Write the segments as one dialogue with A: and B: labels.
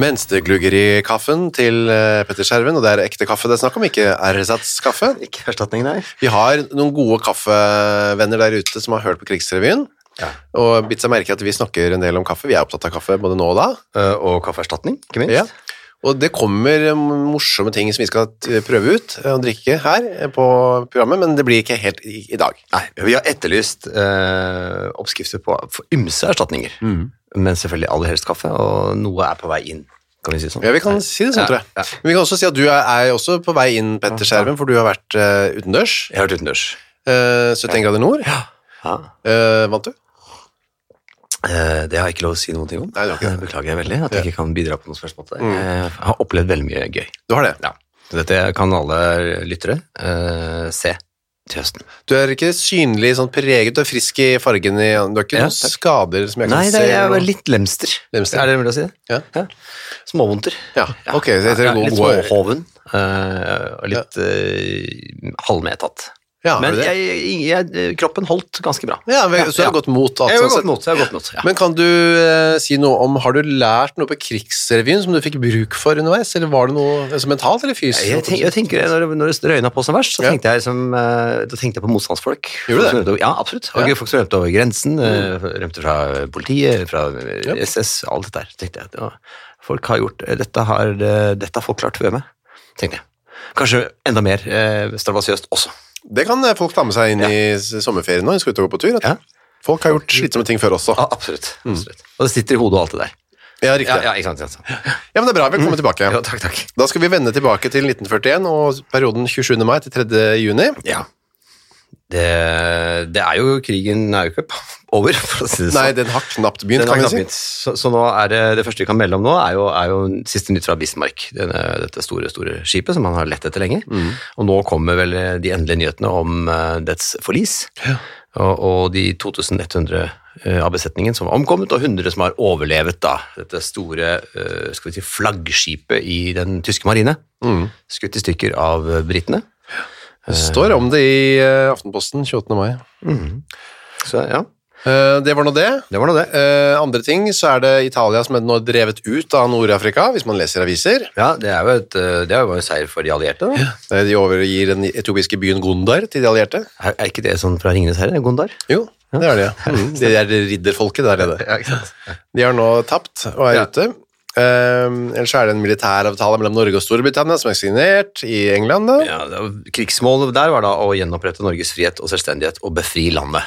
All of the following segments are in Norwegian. A: Mensteglugger i kaffen til eh, Petter Skjerven, og det er ekte kaffe det er snakk om, ikke RSATS-kaffe.
B: Ikke erstatning, nei.
A: Vi har noen gode kaffevenner der ute som har hørt på Krigsrevyen,
B: Ja.
A: og bitt seg merke at vi snakker en del om kaffe. Vi er opptatt av kaffe både nå og da.
B: Eh, Og kaffeerstatning, ikke minst.
A: Ja. Og det kommer eh, morsomme ting som vi skal t- prøve ut eh, og drikke her eh, på programmet, men det blir ikke helt i, i dag.
B: Nei, vi har etterlyst eh, oppskrifter på for ymse erstatninger.
A: Mm.
B: Men selvfølgelig aller helst kaffe, og noe er på vei inn, kan vi si det sånn.
A: Ja, vi kan si det sånn,
B: Ja,
A: tror jeg.
B: ja.
A: Men vi kan også si at du er, er også på vei inn, Petter Skjerven, for du har vært eh, utendørs.
B: Jeg har vært utendørs.
A: eh, 71 grader nord.
B: Ja.
A: Eh, vant du?
B: Eh, Det har jeg ikke lov å si noen ting om.
A: Nei, det har ikke det.
B: Eh, Beklager jeg veldig at jeg ikke kan bidra på noen spørsmål. Mm. Jeg har opplevd veldig mye gøy.
A: Du har det.
B: Ja. Dette kan alle lyttere eh, se til høsten.
A: Du er ikke synlig sånn preget, du er frisk i fargen i Du har ikke
B: Ja,
A: noen
B: takk.
A: skader som jeg kan
B: Nei,
A: se?
B: det er, jeg
A: eller
B: er
A: noe?
B: litt lemster.
A: Lemster.
B: Er det mulig å si det?
A: Ja.
B: Småvondter.
A: Ja, ok, så heter det
B: Ja,
A: god-
B: litt
A: god-
B: småhoven. eh, og litt eh, halvmedtatt.
A: Ja, er
B: Men
A: det det?
B: jeg, jeg, eh, kroppen holdt ganske bra.
A: ja, men, så du har
B: ja.
A: gått mot alt
B: Jeg har
A: sånn
B: gått
A: sett.
B: mot, jeg har gått mot. Ja.
A: Men kan du eh, si noe om Har du lært noe på Krigsrevyen som du fikk bruk for underveis, eller var det noe altså, mentalt eller fysisk?
B: jeg, tenk, jeg tenker, når, det- når det røyna på som verst, så
A: Ja.
B: tenkte jeg, som, eh, da tenkte jeg på motstandsfolk.
A: Gjorde du det?
B: Folk som rømte over- Ja, absolutt. Og
A: Ja. Mm.
B: Folk som rømte over grensen, eh, rømte fra politiet, fra eh,
A: Ja.
B: SS, alt dette der. tenkte jeg. Ja, folk har gjort, dette har, eh, dette har folk klart før meg, tenkte jeg. Kanskje enda mer eh, strabasiøst også.
A: Det kan eh, folk ta med seg inn i s- sommerferien nå. Hun skal ut og gå på tur. vet du.
B: Ja.
A: Folk har gjort slitsomme ting før også.
B: Ja, absolutt.
A: Mm.
B: absolutt. Og det sitter i hodet og alt det der.
A: Ja, riktig.
B: Ja,
A: Ja,
B: ja, ikke sant, ikke sant.
A: men det er bra. Velkommen tilbake.
B: Ja, takk, takk.
A: Da skal vi vende tilbake til 1941 og perioden 27. mai til 3. juni.
B: Ja. Det, det er jo, krigen er jo ikke over, for å si det sånn.
A: Nei, den har knapt begynt,
B: Den har
A: kan
B: knapt
A: vi si.
B: begynt. Så, så nå er det, det første vi kan melde om nå, er jo, er jo siste nytt fra Bismarck. Denne, dette store store skipet som han har lett etter lenge.
A: Mm.
B: Og nå kommer vel eh, de endelige nyhetene om eh, dets forlis. Og, og de 2100 eh, av besetningen som har omkommet, og 100 som har overlevet da, dette store eh, skal vi si, flaggskipet i den tyske marine.
A: Mm.
B: Skutt i stykker av eh, britene.
A: Det står om det i eh, Aftenposten 28. mai.
B: Så ja,
A: Eh, Det var nå det.
B: det var nå det.
A: Eh, andre ting så er det Italia som er nå drevet ut av Nord-Afrika, hvis man leser aviser.
B: Ja, det er jo et, eh, det er jo en seier for de allierte. Da.
A: Eh, De overgir den etiopiske byen Gondar til de allierte.
B: Er, er ikke det sånn fra Ringenes herre? Gondar?
A: Jo, det er det. Mm, det er det ridderfolket der nede.
B: Ja, ikke sant?
A: De har nå tapt og er
B: Ja.
A: ute. Eh, ellers er det en militæravtale mellom Norge og Storbritannia som er signert i England. Da.
B: Ja, det var- krigsmålet der var da å gjenopprette Norges frihet og selvstendighet og befri landet,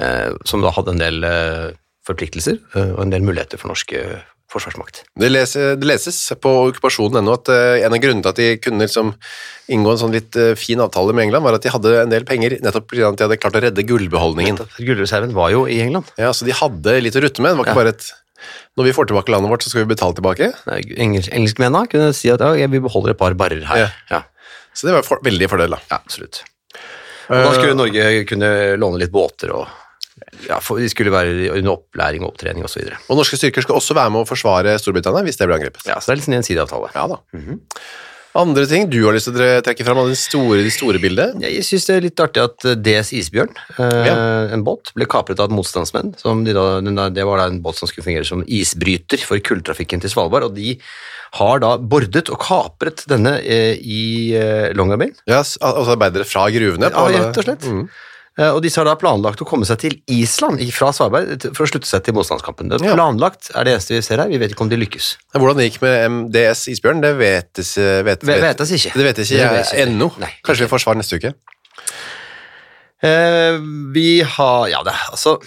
B: eh, som da hadde en del eh, forpliktelser eh, og en del muligheter for norsk eh, forsvarsmakt.
A: Det, leser, det leses på okkupasjonen ennå at eh, en av grunnene til at de kunne liksom inngå en sånn litt eh, fin avtale med England, var at de hadde en del penger nettopp fordi at de hadde klart å redde gullbeholdningen.
B: Gullreserven var jo i England.
A: Ja, så de hadde litt å rutte med. Det var ikke bare et Når vi får tilbake landet vårt, så skal vi betale tilbake.
B: Nei, Engels, Engelskmennene kunne si at ja, vi beholder et par barrer her.
A: Ja.
B: Ja, ja,
A: Så det var for, veldig fordel, da.
B: absolutt. Og da skulle Norge kunne låne litt båter og ja, for, De skulle være under opplæring og opptrening osv.
A: Og norske styrker skal også være med å forsvare Storbritannia hvis det blir angrepet.
B: Ja, så det er litt sånn gjensidigavtale.
A: Ja da. Andre ting du har lyst til å tre- trekke fram av det store, de store bildet?
B: Jeg syns det er litt artig at eh, DS Isbjørn, eh,
A: Ja.
B: en båt, ble kapret av motstandsmenn. Som de da, den da, det var da en båt som skulle fungere som isbryter for kulltrafikken til Svalbard. Og de har da bordet og kapret denne eh, i eh, Longyearbyen.
A: Ja, s- al- altså arbeidere fra gruvene?
B: Ja, rett og slett.
A: Mm.
B: Eh, og disse har da planlagt å komme seg til Island i- fra Svalbard til- for å slutte seg til motstandskampen. Det
A: Ja.
B: er planlagt er det eneste vi ser her. Vi vet ikke om de lykkes.
A: Men Hvordan det gikk med MDS Isbjørn, det vetes, vet,
B: Ve- vetes ikke.
A: Det vet ikke
B: Det
A: jeg
B: vet ikke.
A: ennå.
B: Nei.
A: Kanskje vi får svar neste uke?
B: Eh, vi har Ja, det altså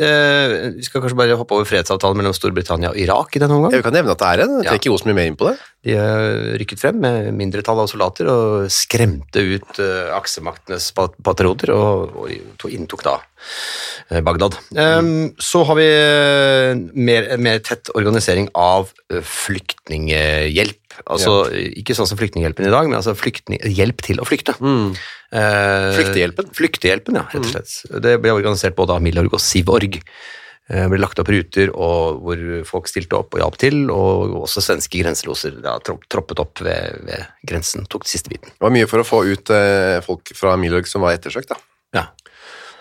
B: eh, Vi skal kanskje bare hoppe over fredsavtalen mellom Storbritannia og Irak i denne omgang.
A: Jeg kan nevne at det er en. Jeg
B: Ja.
A: trekker jo så mye mer inn på det.
B: De eh, rykket frem med mindretall av soldater og skremte ut eh, aksemaktenes pat- patrioter og, og to- inntok da eh, Bagdad. Ehm, Så har vi eh, mer, mer tett organisering av eh, flyktninghjelp hjelp. Altså, Ikke sånn som Flyktninghjelpen i dag, men altså flyktning, hjelp til å flykte. Eh,
A: Flyktehjelpen?
B: Mm. Flyktehjelpen, Mm. ja, rett og slett. Det ble organisert både av Milorg og Sivorg. Det ble lagt opp ruter og hvor folk stilte opp og hjalp til, og også svenske grenseloser da, tro- troppet opp ved, ved grensen, tok siste biten.
A: Det var mye for å få ut eh, folk fra Milorg som var ettersøkt, da.
B: Ja.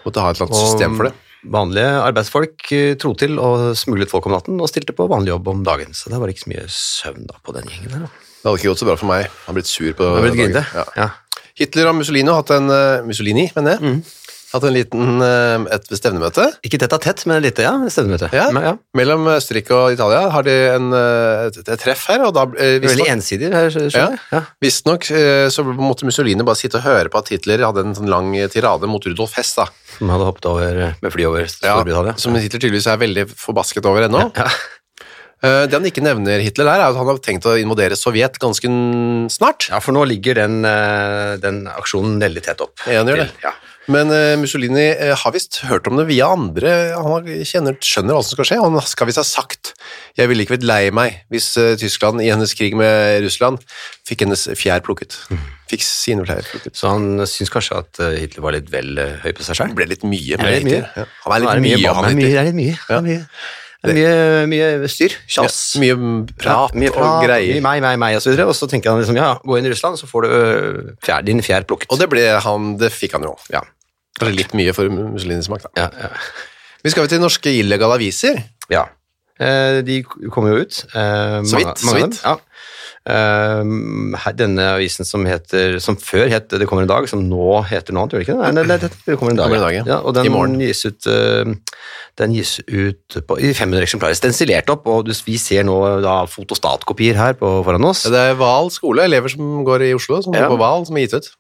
A: Måtte ha et eller annet system for det.
B: Og Mm. Vanlige arbeidsfolk eh, tro til og smuglet folk om natten og stilte på vanlig jobb om dagen. Så det var ikke så mye søvn da på den gjengen. der. da.
A: Det hadde ikke gått så bra for meg. Jeg har blitt sur på
B: Det var litt grinde.
A: Ja.
B: Ja.
A: Hitler og Mussolini har hatt en eh, Mussolini, mener jeg. Hatt en liten eh, et stevnemøte.
B: Ikke tett av tett, men lite, ja. Stevnemøte.
A: Ja.
B: Men, ja.
A: Mellom Østerrike og Italia har de en, eh, et, et treff her, og da eh,
B: Veldig
A: visstnok-
B: ensidig, her, skjønner
A: Ja.
B: jeg. Ja.
A: visstnok eh, så måtte Mussolini bare sitte og høre på at Hitler hadde en sånn lang tirade mot Rudolf Hess, da.
B: Som hadde hoppet over eh, med fly over Storbritannia.
A: som Hitler tydeligvis er veldig forbasket over ennå.
B: Ja.
A: Eh, Det han ikke nevner Hitler der, er at han har tenkt å invadere Sovjet ganske n- snart.
B: ja, for nå ligger den, eh, den aksjonen veldig tett opp.
A: Ja, han gjør det.
B: til- Ja.
A: Men eh, Mussolini eh, har visst hørt om det via andre. Han har- kjenner, skjønner hva som skal skje. Han skal visst ha sagt jeg ville ikke blitt lei meg hvis eh, Tyskland i hennes krig med Russland fikk hennes fjær plukket.
B: Mm.
A: Fikk sine fjær plukket.
B: Så han syns kanskje at eh, Hitler var litt vel eh, høy på
A: Det
B: seg sjøl.
A: ble litt mye.
B: Er
A: med
B: det litt
A: Hitler.
B: mye?
A: Ja. Han er litt mye, han
B: det er mye,
A: Hitler.
B: det er litt mye. Det er mye, det er mye, mye styr. Kjass.
A: Ja, mye prat,
B: Ja, mye
A: og greier.
B: Mye meg, meg, meg, og så videre. Og så tenker han liksom, ja, gå inn i Russland, så får du ø, fjær, din fjær plukket.
A: Og det, ble han, det fikk han jo.
B: Ja.
A: Kanskje litt mye for Mussolinis smak, da.
B: Ja, ja.
A: Vi skal jo til norske illegale aviser.
B: ja. Eh, de kom jo ut. eh,
A: Så vidt,
B: mange- mange
A: så
B: av
A: vidt.
B: dem, Ja. Eh, her- denne avisen som heter, som før het Det kommer en dag, som nå heter noe annet, gjør det ikke det? Nei, det, det, det kommer en dag.
A: Det kommer en dag, ja.
B: ja. og den
A: I morgen.
B: gis ut, eh, den gis ut på, i 500 eksemplarer, stensilert opp, og du, vi ser nå da fotostatkopier her på, foran oss.
A: Det er Val skole, elever som går i Oslo, som
B: Ja.
A: går på Val, som er gitt ut.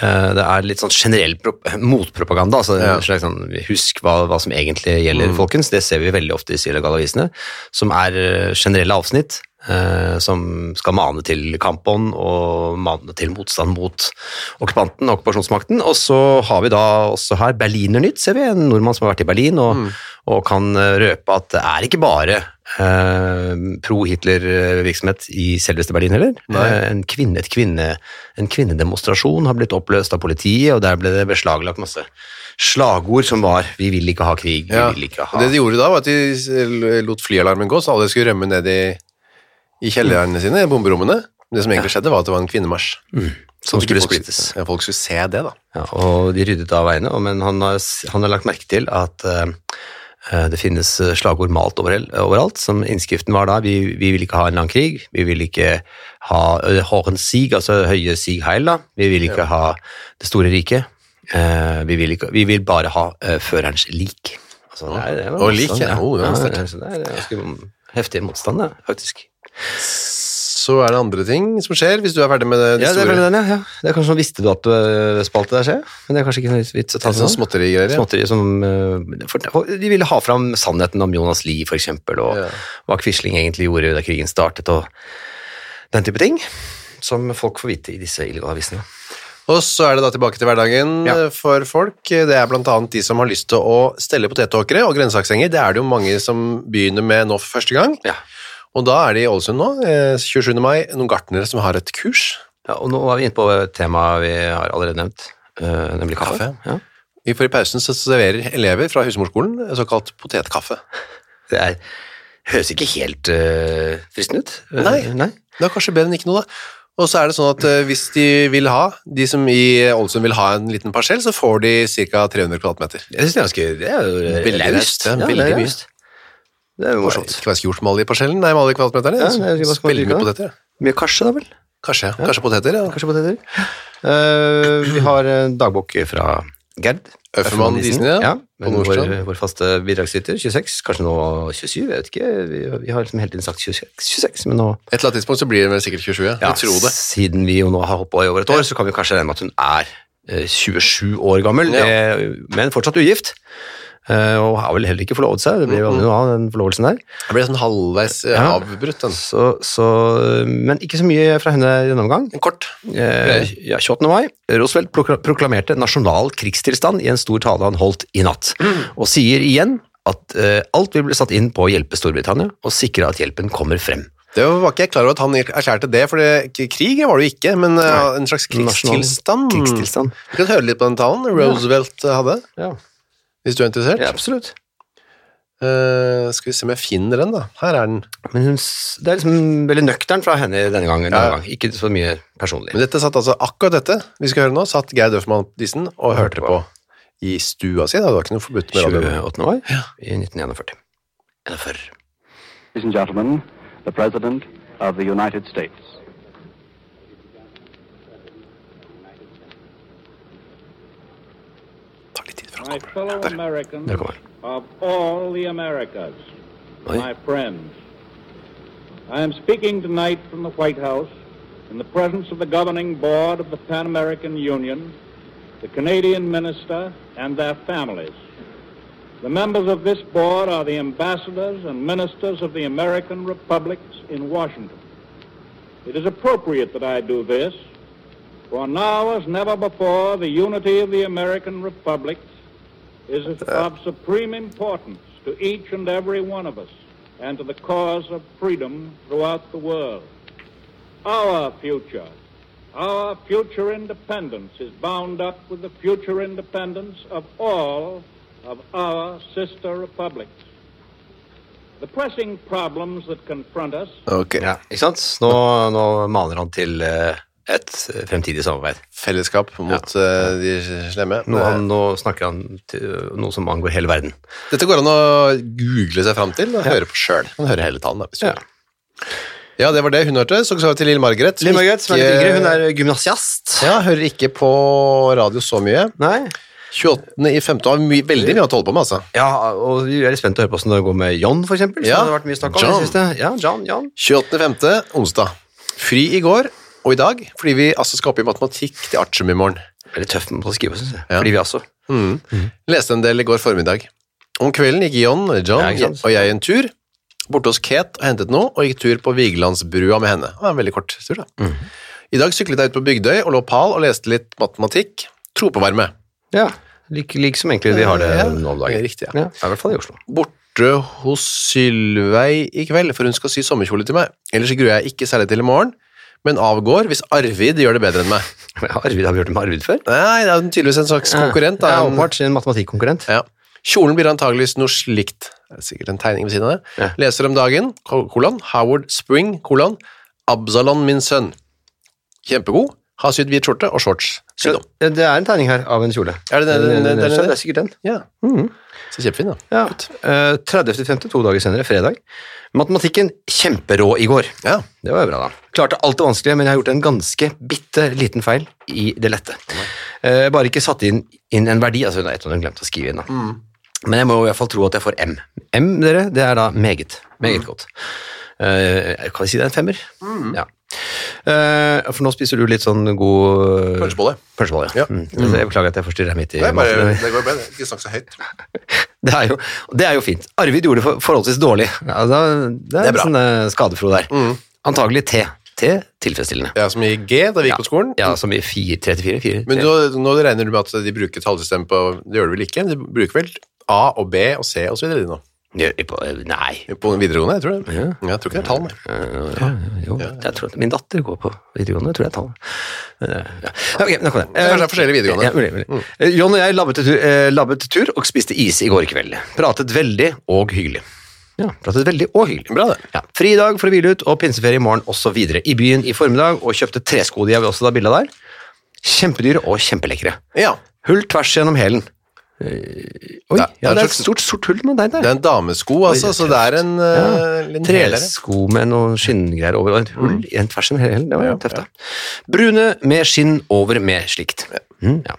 B: Eh, Det er litt sånn generell prop- motpropaganda. altså en slags sånn, Husk hva, hva som egentlig gjelder, folkens. Det ser vi veldig ofte i disse illegale avisene. Som er eh, generelle avsnitt eh, som skal mane til kampånd og mane til motstand mot okkupanten og okkupasjonsmakten. Og så har vi da også her Berlinernytt, ser vi. En nordmann som har vært i Berlin og,
A: Mm.
B: og kan eh, røpe at det er ikke bare eh, pro-Hitler-virksomhet i selveste Berlin heller.
A: Nei.
B: Eh, en, kvinne, et kvinne, en kvinnedemonstrasjon har blitt oppløst av politiet, og der ble det beslaglagt masse slagord som var 'vi vil ikke ha krig', 'vi vil ikke ha
A: Og Det de gjorde da, var at de lot flyalarmen gå, så alle skulle rømme ned i, i kjellerne sine, i bomberommene. Men Det som egentlig skjedde, var at det var en kvinnemarsj.
B: Mm. som
A: At ikke
B: skulle
A: folk-
B: splittes.
A: Ja, folk skulle se det, da.
B: Ja, og de ryddet av veiene, og- men han har, s- han har lagt merke til at eh, eh, det finnes eh, slagord malt overel- overalt, som innskriften var da, vi, vi vil ikke ha en lang krig, vi vil ikke ha eh, Hornsig, altså høye Sig Heil da, vi vil ikke ha det store riket, eh, vi, vil ikke, vi vil bare ha eh, førerens lik. Altså, det er- det var
A: Og lik,
B: motstand,
A: ja. Oh, det var sterkt.
B: så det er ganske heftig motstand, da, faktisk.
A: Så er det andre ting som skjer, hvis du er ferdig med det, de
B: Ja, det er
A: store
B: vel den, ja. ja. Det er kanskje sånn, visste du at du spalte der, skjer? Men det er kanskje ikke noe vits å
A: det
B: ta
A: er
B: det
A: sånn
B: nå.
A: småtterigreier. Ja.
B: Småtteri som eh, for- for- De ville ha fram sannheten om Jonas Lie, f.eks., og
A: Ja.
B: hva Quisling egentlig gjorde da krigen startet, og den type ting. Som folk får vite i disse illegale avisene.
A: Og så er det da tilbake til hverdagen
B: Ja.
A: eh, for folk. Det er blant annet de som har lyst til å stelle potetåkere og grønnsakshenger. Det er det jo mange som begynner med nå for første gang.
B: Ja.
A: Og da er det i Ålesund nå, eh, 27. mai, noen gartnere som har et kurs.
B: Ja, og nå er vi inne på et tema vi har allerede nevnt, eh, nemlig kaffe.
A: Kaffe.
B: Ja.
A: I for i pausen så serverer elever fra husmorskolen såkalt potetkaffe.
B: Det er, høres ikke helt eh, fristende ut. Eh,
A: Nei.
B: nei.
A: Det er kanskje bedre enn ikke noe, da. Og så er det sånn at eh, hvis de vil ha, de som i Ålesund vil ha en liten parsell, så får de ca. 300 kvadratmeter.
B: Jeg syns det er ganske Det er jo
A: Veldig raust, ja,
B: Ja,
A: veldig
B: det er
A: mye.
B: raust. Det er jo morsomt.
A: Ikke hva jeg skulle gjort med alle de parsellene, nei, med alle kvadratmeterne.
B: Ja, det er ikke hva skal man
A: Veldig
B: bruke
A: mye
B: da.
A: poteter. ja.
B: Mye karse, da vel?
A: Kanskje, kanskje poteter, ja.
B: Kanskje poteter? Eh, vi har en dagbok fra Gerd.
A: Øffermann Disen, ja. På
B: men
A: Nordstrand.
B: vår, vår faste bidragsyter, 26, kanskje nå 27, jeg vet ikke. Vi, vi har liksom hele tiden sagt 26, 26 men nå
A: Et eller annet tidspunkt så blir det vel sikkert 27, ja. jeg tror det.
B: siden vi jo nå har holdt på i over et år, så kan vi kanskje regne med at hun er eh, 27 år gammel, eh, men fortsatt ugift. Eh, og har vel heller ikke forlovet seg, det blir jo aldri noe av den forlovelsen der.
A: Det blir sånn halvveis eh,
B: Ja.
A: avbrutt, den.
B: Så, så, men ikke så mye fra henne i denne omgang.
A: En kort.
B: Eh, ja, 28. mai. Roosevelt prokla- proklamerte nasjonal krigstilstand i en stor tale han holdt i natt,
A: Mm.
B: og sier igjen at eh, alt vil bli satt inn på å hjelpe Storbritannia og sikre at hjelpen kommer frem.
A: Det var ikke jeg klar over at han erklærte det, for det, krig var det jo ikke, men eh, en slags
B: Nasjonal
A: krigstilstand.
B: krigstilstand.
A: Vi kan høre litt på den talen Roosevelt eh, hadde,
B: Ja.
A: hvis du er interessert.
B: ja, absolutt.
A: Eh, skal vi se om jeg finner den, da. Her er den.
B: Men hun, s- det er liksom veldig nøktern fra henne denne gangen. Denne
A: Ja.
B: gang. Ikke så mye personlig.
A: Men dette satt altså, akkurat dette vi skal høre nå, satt Geir Døffmann Dissen og hørte på i stua si. Da. Det var ikke noe forbudt med radio.
B: 28. år i 1941. Eller før.
C: Ladies and gentlemen, the President of the United States.
A: Det tar litt tid før han
D: My
A: kommer.
D: fellow Americans
B: Der kommer den.
D: of all the Americas,
B: Oi.
D: my friends, I am speaking tonight from the White House in the presence of the governing board of the Pan American Union, the Canadian minister, and their families. The members of this board are the ambassadors and ministers of the American republics in Washington. It is appropriate that I do this, for now as never before, the unity of the American republics is of supreme importance to each and every one of us and to the cause of freedom throughout the world. Our future, our future independence is bound up with the future independence of all of our sister republics. The pressing problems that confront us
A: Ok,
B: Ja, ikke sant? Nå, nå maner han til eh, et fremtidig samarbeid.
A: Fellesskap mot eh, de slemme.
B: Nå, han, nå snakker han til noe som angår hele verden.
A: Dette går an å google seg fram til og høre på sjøl. Kan høre hele talen, da. Hvis du
B: Ja.
A: vil. ja, det var det hun hørte. Så skal vi til Lill Margaret.
B: Lill Margaret, som er litt
A: ikke-
B: yngre, hun er gymnasiast.
A: ja, hører ikke på radio så mye.
B: Nei?
A: 28. i 15. har mye- veldig mye å holde på med, altså.
B: Ja, og vi er litt spent å høre på hvordan det går med John, for eksempel.
A: Ja,
B: Som det har vært mye snakk om i
A: John.
B: det siste. Ja, John, John.
A: 28.5. onsdag. Fri i går og i dag, fordi vi altså skal opp i matematikk til artium i morgen.
B: Veldig tøff på å skrive, synes jeg.
A: Ja.
B: Fordi vi også.
A: Mm. Leste en del i går formiddag. Om kvelden gikk John, John
B: Ja, ikke sant?
A: og jeg en tur borte hos Kate og hentet noe, og gikk tur på Vigelandsbrua med henne. Det var en veldig kort tur, da.
B: Mm.
A: I dag syklet jeg ut på Bygdøy og lå pal og leste litt matematikk. Tropevarme.
B: Ja, like, like som egentlig vi har det
A: Ja,
B: nå om dagen.
A: Riktig, ja.
B: Ja, i hvert fall i Oslo.
A: borte hos Sylvei i kveld, for hun skal sy sommerkjole til meg. Ellers gruer jeg ikke særlig til i morgen, men avgår hvis Arvid gjør det bedre enn meg.
B: Ja, Arvid, har vi hørt om Arvid før?
A: Nei, det er tydeligvis en slags konkurrent. Da.
B: Ja,
A: En-
B: åpenbart. En matematikkonkurrent.
A: Ja. Kjolen blir antageligvis noe slikt. Det er sikkert en tegning ved siden av det.
B: Ja.
A: Leser om dagen, kol- kolon, Howard Spring, kolon, Absalon, min sønn. Kjempegod. Har sydd hvit skjorte og shorts. Sydd om.
B: Det det er en tegning her av en kjole. eh,
A: Er det den- den- den- den-
B: Så Det er sikkert den.
A: Ja. Mm. Så kjempefin, da.
B: Ja. Eh, 30.5., to dager senere, fredag. Matematikken kjemperå i går.
A: Ja.
B: Det var jo bra, da. Klarte alt det vanskelige, men jeg har gjort en ganske bitte liten feil i det lette. Eh, bare ikke satt inn, inn en verdi. altså det er et eller annet jeg glemte å skrive inn. da. Men jeg må jo i hvert fall tro at jeg får M. M, dere, det er da meget. Meget godt. Eh, kan vi si det er en femmer? Ja. Eh, for nå spiser du litt sånn god
A: Pølsebolle.
B: Pølsebolle, ja.
A: Ja.
B: Mm. Så Jeg beklager at jeg forstyrrer deg midt i maten.
A: går bra. Ikke snakk så høyt.
B: Det er, jo, det er jo fint. Arvid gjorde det for, forholdsvis dårlig. Ja, da, det er,
A: er bra.
B: sånn eh, skadefro der. Antagelig T. T tilfredsstillende.
A: Ja, som i G da vi gikk på skolen.
B: Ja, som i 4, 34, 4.
A: Men nå, nå regner du med at de bruker tallsystem på Det gjør de vel ikke? De bruker vel A og B og C og så videre de nå.
B: eh, Nei.
A: På videregående, jeg tror det.
B: Ja.
A: Jeg tror ikke det er tall. nei.
B: Eh, ja, jo, jeg tror at min datter går på videregående, jeg tror jeg tar det. Men, eh, Ja. Ok, nok om
A: Kanskje
B: det.
A: det er forskjellig videregående. Mm.
B: Ja, mulig, mulig. Eh, John og jeg labbet, tur, eh, labbet tur og spiste is i går kveld. Pratet veldig og hyggelig. Ja, pratet veldig og hyggelig.
A: Bra, det.
B: Ja, fri dag for å hvile ut og pinseferie i morgen og så videre. I byen i formiddag og kjøpte tresko, de har vi også da bilde av der. Kjempedyre og kjempelekre.
A: Ja.
B: Hull tvers gjennom hælen. Eh,
A: Det er- det
B: Oi, ja,
A: er en
B: det er et
A: slags-
B: stort, sort hull med deg der.
A: Det er en damesko, altså, så det er en, eh, en hel der.
B: Tresko med noen skinngreier over og et hull
A: Mm.
B: i en tvers i en hel. Det var jo tøft, da. Brune med skinn over med slikt. Mm, ja.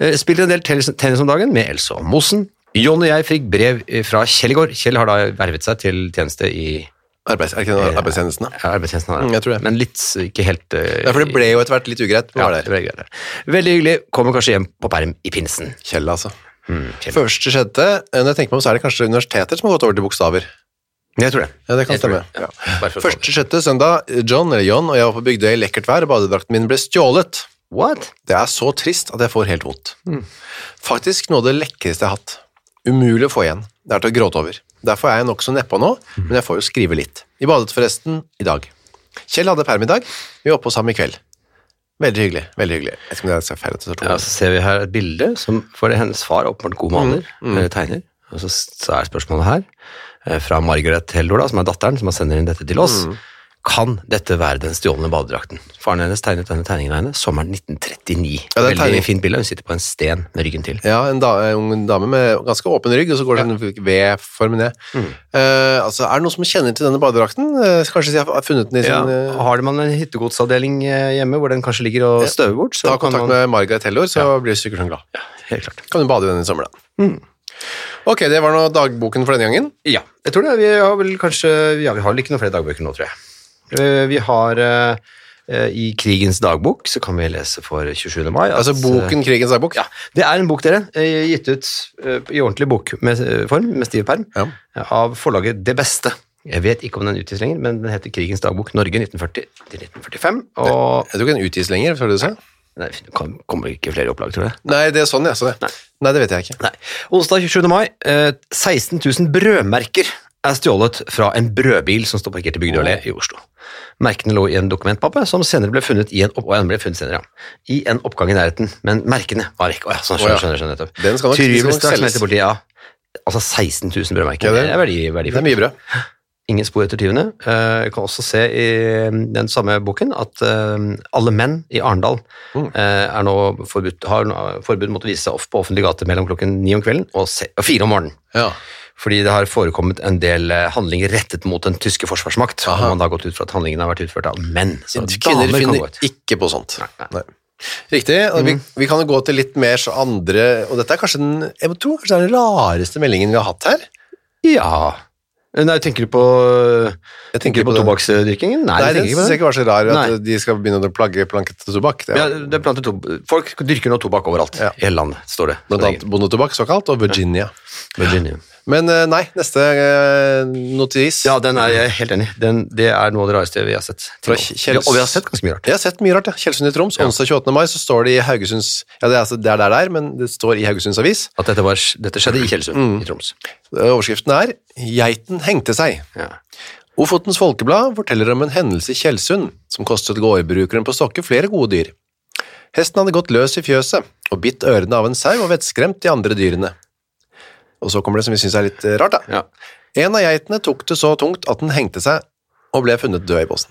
B: Eh, Spilte en del tennis tennis om dagen med Else og Mossen. John og jeg fikk brev eh, fra Kjell i går. Kjell har da vervet seg til tjeneste i
A: Arbeids, er det ikke den arbeidstjenesten, da?
B: ja, arbeidstjenesten. har han.
A: Mm, jeg tror det.
B: Men litt eh, ikke helt eh,
A: Ja, for det ble jo etter hvert litt ugreit.
B: ja,
A: Ja,
B: det ble greit, det. Veldig hyggelig. Kommer kanskje hjem på perm i pinsen.
A: Kjell, altså.
B: Mm, Kjell.
A: Første skjedde, eh, når jeg tenker meg om, så er det kanskje universiteter som har gått over til bokstaver.
B: Jeg tror det.
A: Ja, det kan
B: Jeg tror
A: stemme.
B: det. Ja. Bare for å ta det.
A: Første sjette søndag, John eller John og jeg var på Bygdøy i lekkert vær, og badedrakten min ble stjålet.
B: What? Mm.
A: Det er så trist at jeg får helt vondt. Faktisk noe av det lekreste jeg har hatt. Umulig å få igjen. Det er til å gråte over. Derfor er jeg nokså nedpå nå, men
B: Mm.
A: jeg får jo skrive litt. Vi badet forresten i dag. Kjell hadde perm i dag. Vi var oppe hos ham i kveld. Veldig hyggelig. veldig hyggelig. Jeg vet ikke om det er feil at det står to.
B: Ja, så ser vi her et bilde som for hennes far er åpenbart god maler,
A: Mm,
B: eller tegner. Og så, så er spørsmålet her, eh, fra Margaret Heldor, da, som er datteren, som har sender inn dette til oss.
A: Mm.
B: Kan dette være den stjålne badedrakten? Faren hennes tegnet denne tegningen av henne sommeren 1939.
A: Ja, det er
B: Veldig
A: tegning.
B: fint bilde. Hun sitter på en sten med ryggen til.
A: Ja, en, da, en ung dame med ganske åpen rygg, og så går det en V-form ned. Eh, altså, er det noen som kjenner til denne badedrakten? Eh, kanskje de har funnet den i sin
B: Ja,
A: eh,
B: har man en hyttegodsavdeling eh, hjemme hvor den kanskje ligger og støver bort, så
A: Ta
B: kan
A: kontakt
B: man
A: med Margaret Hellor, så blir du sikkert sånn glad.
B: Helt klart.
A: Kan du bade i den i sommer, da. Ok, det var nå dagboken for denne gangen.
B: Ja, jeg tror det. Vi har vel kanskje Ja, vi har vel ikke noen flere dagbøker nå, tror jeg. Eh, Vi har eh, eh, I krigens dagbok så kan vi lese for 27. mai at-
A: Altså boken Krigens dagbok.
B: Ja, Det er en bok, dere. eh, Gitt ut eh, i ordentlig bokform, med stiv perm,
A: Ja.
B: eh, av forlaget Det Beste. Jeg vet ikke om den utgis lenger, men den heter Krigens dagbok Norge 1940-1945. Og
A: Jeg tror ikke den utgis lenger, tror du det?
B: Nei, det kom- kommer ikke flere opplag, tror jeg.
A: Nei, det er sånn, ja. Så det. Nei. det vet jeg ikke.
B: Nei. Onsdag 27. mai. Eh, 16 000 brødmerker er stjålet fra en brødbil som står parkert i Bygdøy allé i Oslo. Merkene lå i en dokumentpappe som senere ble funnet i en, opp og den ble funnet senere, ja. I en oppgang i nærheten, men merkene var ikke Å ja, sånn,
A: Å ja.
B: skjønner, skjønner, skjønner, nettopp.
A: Den skal nok- den
B: Tyriet
A: skal
B: ble
A: nok
B: straks
A: selges.
B: meldt til politiet, ja. Altså 16 000 brødmerker.
A: Ja, det-
B: det, er verdi,
A: Det
B: verdifullt.
A: er mye brød.
B: Ingen spor etter tyvene. Eh, Jeg kan også se i mm, den samme boken at eh, alle menn i Arendal
A: Mm.
B: eh, er nå forbudt, har nå forbud mot å vise seg off på offentlig gate mellom klokken ni om kvelden og, se, og fire om morgenen.
A: Ja.
B: Fordi det har forekommet en del eh, handlinger rettet mot den tyske forsvarsmakt. Og
A: Aha.
B: man har gått ut fra at handlingene har vært utført av menn. Så
A: Kvinner
B: damer kan gå
A: finner
B: ut.
A: ikke på sånt.
B: Nei, Mhm. nei.
A: Nei. Riktig. og Vi, vi kan jo gå til litt mer så andre Og dette er kanskje den jeg tror kanskje det er den rareste meldingen vi har hatt her.
B: Ja. Nei, tenker du på, eh,
A: Jeg
B: tenker du på
A: den-
B: tobakksdyrkingen?
A: Nei,
B: Nei, jeg
A: den syns
B: tenker ikke på
A: jeg
B: det.
A: ikke var så rar, at
B: Nei.
A: de skal begynne å plagge planket tobakk. Det
B: Ja,
A: er,
B: det er plantet tob- Folk dyrker nå tobakk overalt
A: Ja.
B: i hele landet, står det.
A: blant annet bondetobakk, såkalt, og Virginia.
B: Virginia.
A: Men eh, nei, neste eh, notis
B: Ja, den er jeg helt enig i. Den- Det er noe av det rareste vi har sett. til
A: Fra
B: nå.
A: Kjells-
B: Og vi har sett ganske mye rart.
A: Jeg har sett mye rart, ja. Kjelsund i Troms. Onsdag 28. mai så står det i Haugesunds Ja, det er, altså- det er der, der, men det står i Haugesunds avis.
B: At dette, var, dette skjedde i Tjeldsund i Troms.
A: Eh, Overskriften er 'Geiten hengte seg'.
B: Ja.
A: Ofotens Folkeblad forteller om en hendelse i Kjelsund som kostet gårdbrukeren på Stokke flere gode dyr. Hesten hadde gått løs i fjøset og bitt ørene av en sau og vettskremt de andre dyrene. Og så kommer det som vi syns er litt eh, rart, da.
B: Ja.
A: En av geitene tok det så tungt at den hengte seg og ble funnet død i båsen.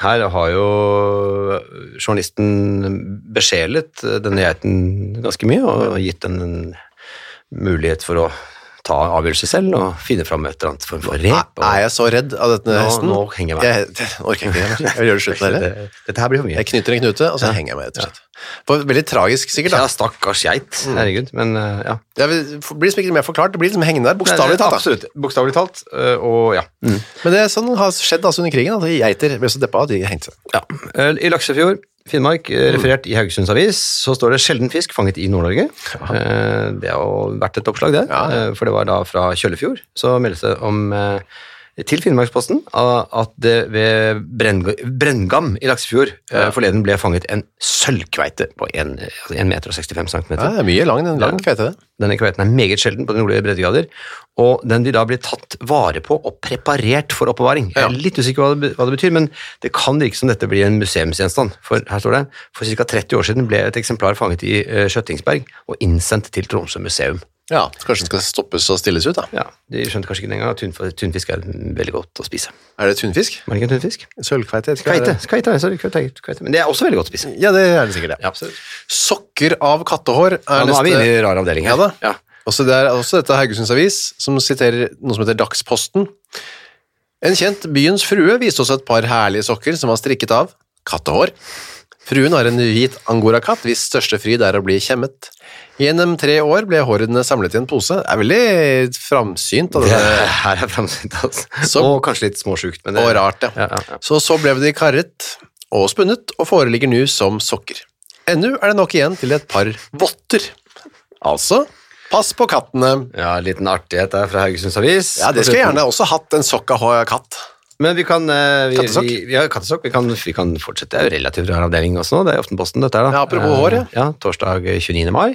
B: Her har jo øh, journalisten besjelet denne geiten ganske mye, og gitt den en mulighet for å ta en avgjørelse selv og finne fram et eller annet form for rep. og-
A: Er jeg så redd av denne
B: Ah, Nå-
A: hesten?
B: nå henger jeg meg.
A: Jeg, det orker jeg ikke. Jeg vil gjøre det slutt med det.
B: Dette- Dette her blir for mye.
A: Jeg knytter en knute, og så henger jeg meg, rett og slett. Det var Veldig tragisk, sikkert.
B: Ja,
A: da.
B: stakkars geit. Herregud. Men eh, ja.
A: Det blir liksom ikke mer forklart. Det blir liksom hengende der, bokstavelig talt. da.
B: Absolutt. Bokstavelig talt. eh, Og ja.
A: Men det er sånn har skjedd altså, under krigen. At geiter ble så deppa at de hengte seg.
B: Ja. Eh, I Laksefjord, Finnmark, eh,
A: Mm.
B: referert i Haugesunds Avis, så står det 'sjelden fisk fanget i Nord-Norge'. Eh, Det har jo vært et oppslag, det.
A: Ja, ja.
B: Eh, For det var da fra Kjøllefjord. Så meldes det om eh, til Finnmarksposten a- at det ved Brennga- Brenngam i Laksefjord eh, forleden ble fanget en sølvkveite på 1,65 altså en meter og 65 centimeter.
A: Ja, det er mye lang, den lang
B: Ja.
A: kveite, det.
B: Denne kveiten er meget sjelden på de nordlige breddegrader, og den vil da bli tatt vare på og preparert for oppbevaring. Jeg er
A: Ja.
B: litt usikker hva det, be- hva det betyr, men det kan virke som dette blir en museumsgjenstand. For her står det, for ca. 30 år siden ble et eksemplar fanget i eh, Skjøttingsberg og innsendt til Tromsø museum.
A: Ja, så Kanskje den skal stoppes og stilles ut, da.
B: Ja, De skjønte kanskje ikke den gang at tunf- tunfisk er veldig godt å spise.
A: Er det tunfisk?
B: Var det ikke en tunfisk?
A: Sølvkveite? jeg vet ikke hva det
B: Kveite,
A: er.
B: kveite, sorry, kveite, kveite. Men det er også veldig godt å spise.
A: Ja, det er det sikkert. det.
B: Ja, absolutt.
A: Sokker av kattehår er
B: Ja, nå er vi inne
A: neste.
B: i rar avdeling
A: Ja
B: her.
A: da. Også det er også dette Haugesunds Avis, som siterer noe som heter Dagsposten. En kjent byens frue viste oss et par herlige sokker som var strikket av kattehår. Fruen har en hvit angorakatt, hvis største fryd er å bli kjemmet. Gjennom tre år ble hårene samlet i en pose. Det er veldig framsynt av
B: Det
A: denne
B: her er framsynt, altså.
A: Så-
B: og kanskje litt småsjukt, men det
A: og rart, ja.
B: Ja, ja, ja.
A: Så så ble de karret og spunnet, og foreligger nå som sokker. Ennå er det nok igjen til et par votter. Altså, pass på kattene.
B: Ja, en liten artighet der fra Haugesunds Avis.
A: Ja, det skulle jeg gjerne også hatt en sokk av katt.
B: Men vi kan eh, vi,
A: Kattesokk?
B: Vi, ja, kattesokk. Vi kan, vi kan fortsette. Det er jo relativt rar avdeling også nå. Det er Aftenposten, dette her. da.
A: Ja, apropos Mm. hår, ja.
B: Eh, ja. Torsdag 29. mai.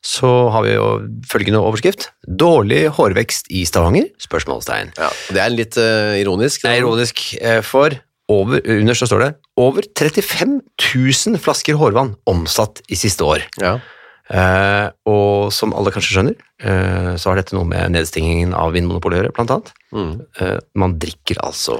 B: Så har vi jo følgende overskrift. Dårlig hårvekst i Stavanger? Spørsmålstegn.
A: Ja, og det er litt eh, ironisk.
B: Det er ironisk, eh, for over, under så står det over 35 000 flasker hårvann omsatt i siste år.
A: Ja.
B: Eh, og som alle kanskje skjønner, eh, så har dette noe med nedstengingen av Vinmonopolet å gjøre, blant annet.
A: Mm.
B: Eh, man drikker altså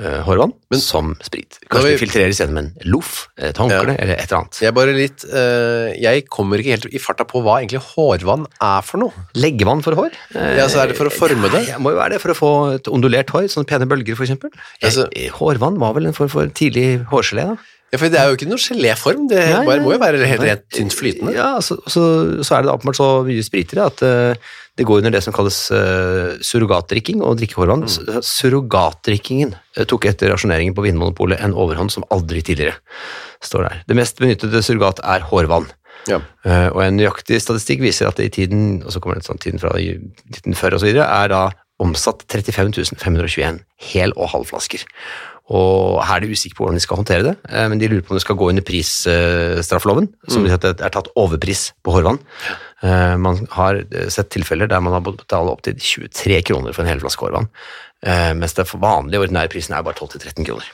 B: eh, hårvann som sprit.
A: Når
B: Kanskje
A: vi-
B: det filtreres gjennom en loff, eh, et
A: Ja.
B: håndkle eller et eller annet.
A: Jeg bare litt eh, Jeg kommer ikke helt i farta på hva egentlig hårvann er for noe.
B: Leggevann for hår? Eh,
A: Ja, så er det for å forme det?
B: ja, må jo være det, for å få et ondulert hår, sånne pene bølger for eksempel.
A: Altså-
B: Eh, hårvann var vel en form for tidlig hårgelé da?
A: Ja, for det er jo ikke noen geléform. Det
B: Nei,
A: bare,
B: nei.
A: må jo være helt
B: Nei.
A: rent tynt flytende.
B: Ja, så, så, så er det da åpenbart så mye spritere at eh, det går under det som kalles eh, surrogatdrikking og drikkehårvann. S- Surrogatdrikkingen eh, tok etter rasjoneringen på Vinmonopolet en overhånd som aldri tidligere, står der. Det mest benyttede surrogat er hårvann.
A: Ja.
B: Eh, og en nøyaktig statistikk viser at det i tiden, og så kommer det sånn tiden fra 1940 og så videre, er da omsatt 35 521 hel- og halvflasker. Og her er de usikre på hvordan de skal håndtere det, eh, men de lurer på om det skal gå under prisstraffeloven, som betyr at det er tatt overpris på hårvann. Eh, Man har eh, sett tilfeller der man har betalt opptil 23 kroner for en hel flaske hårvann, eh, mens det vanlige ordinære prisen er bare 12-13 kroner.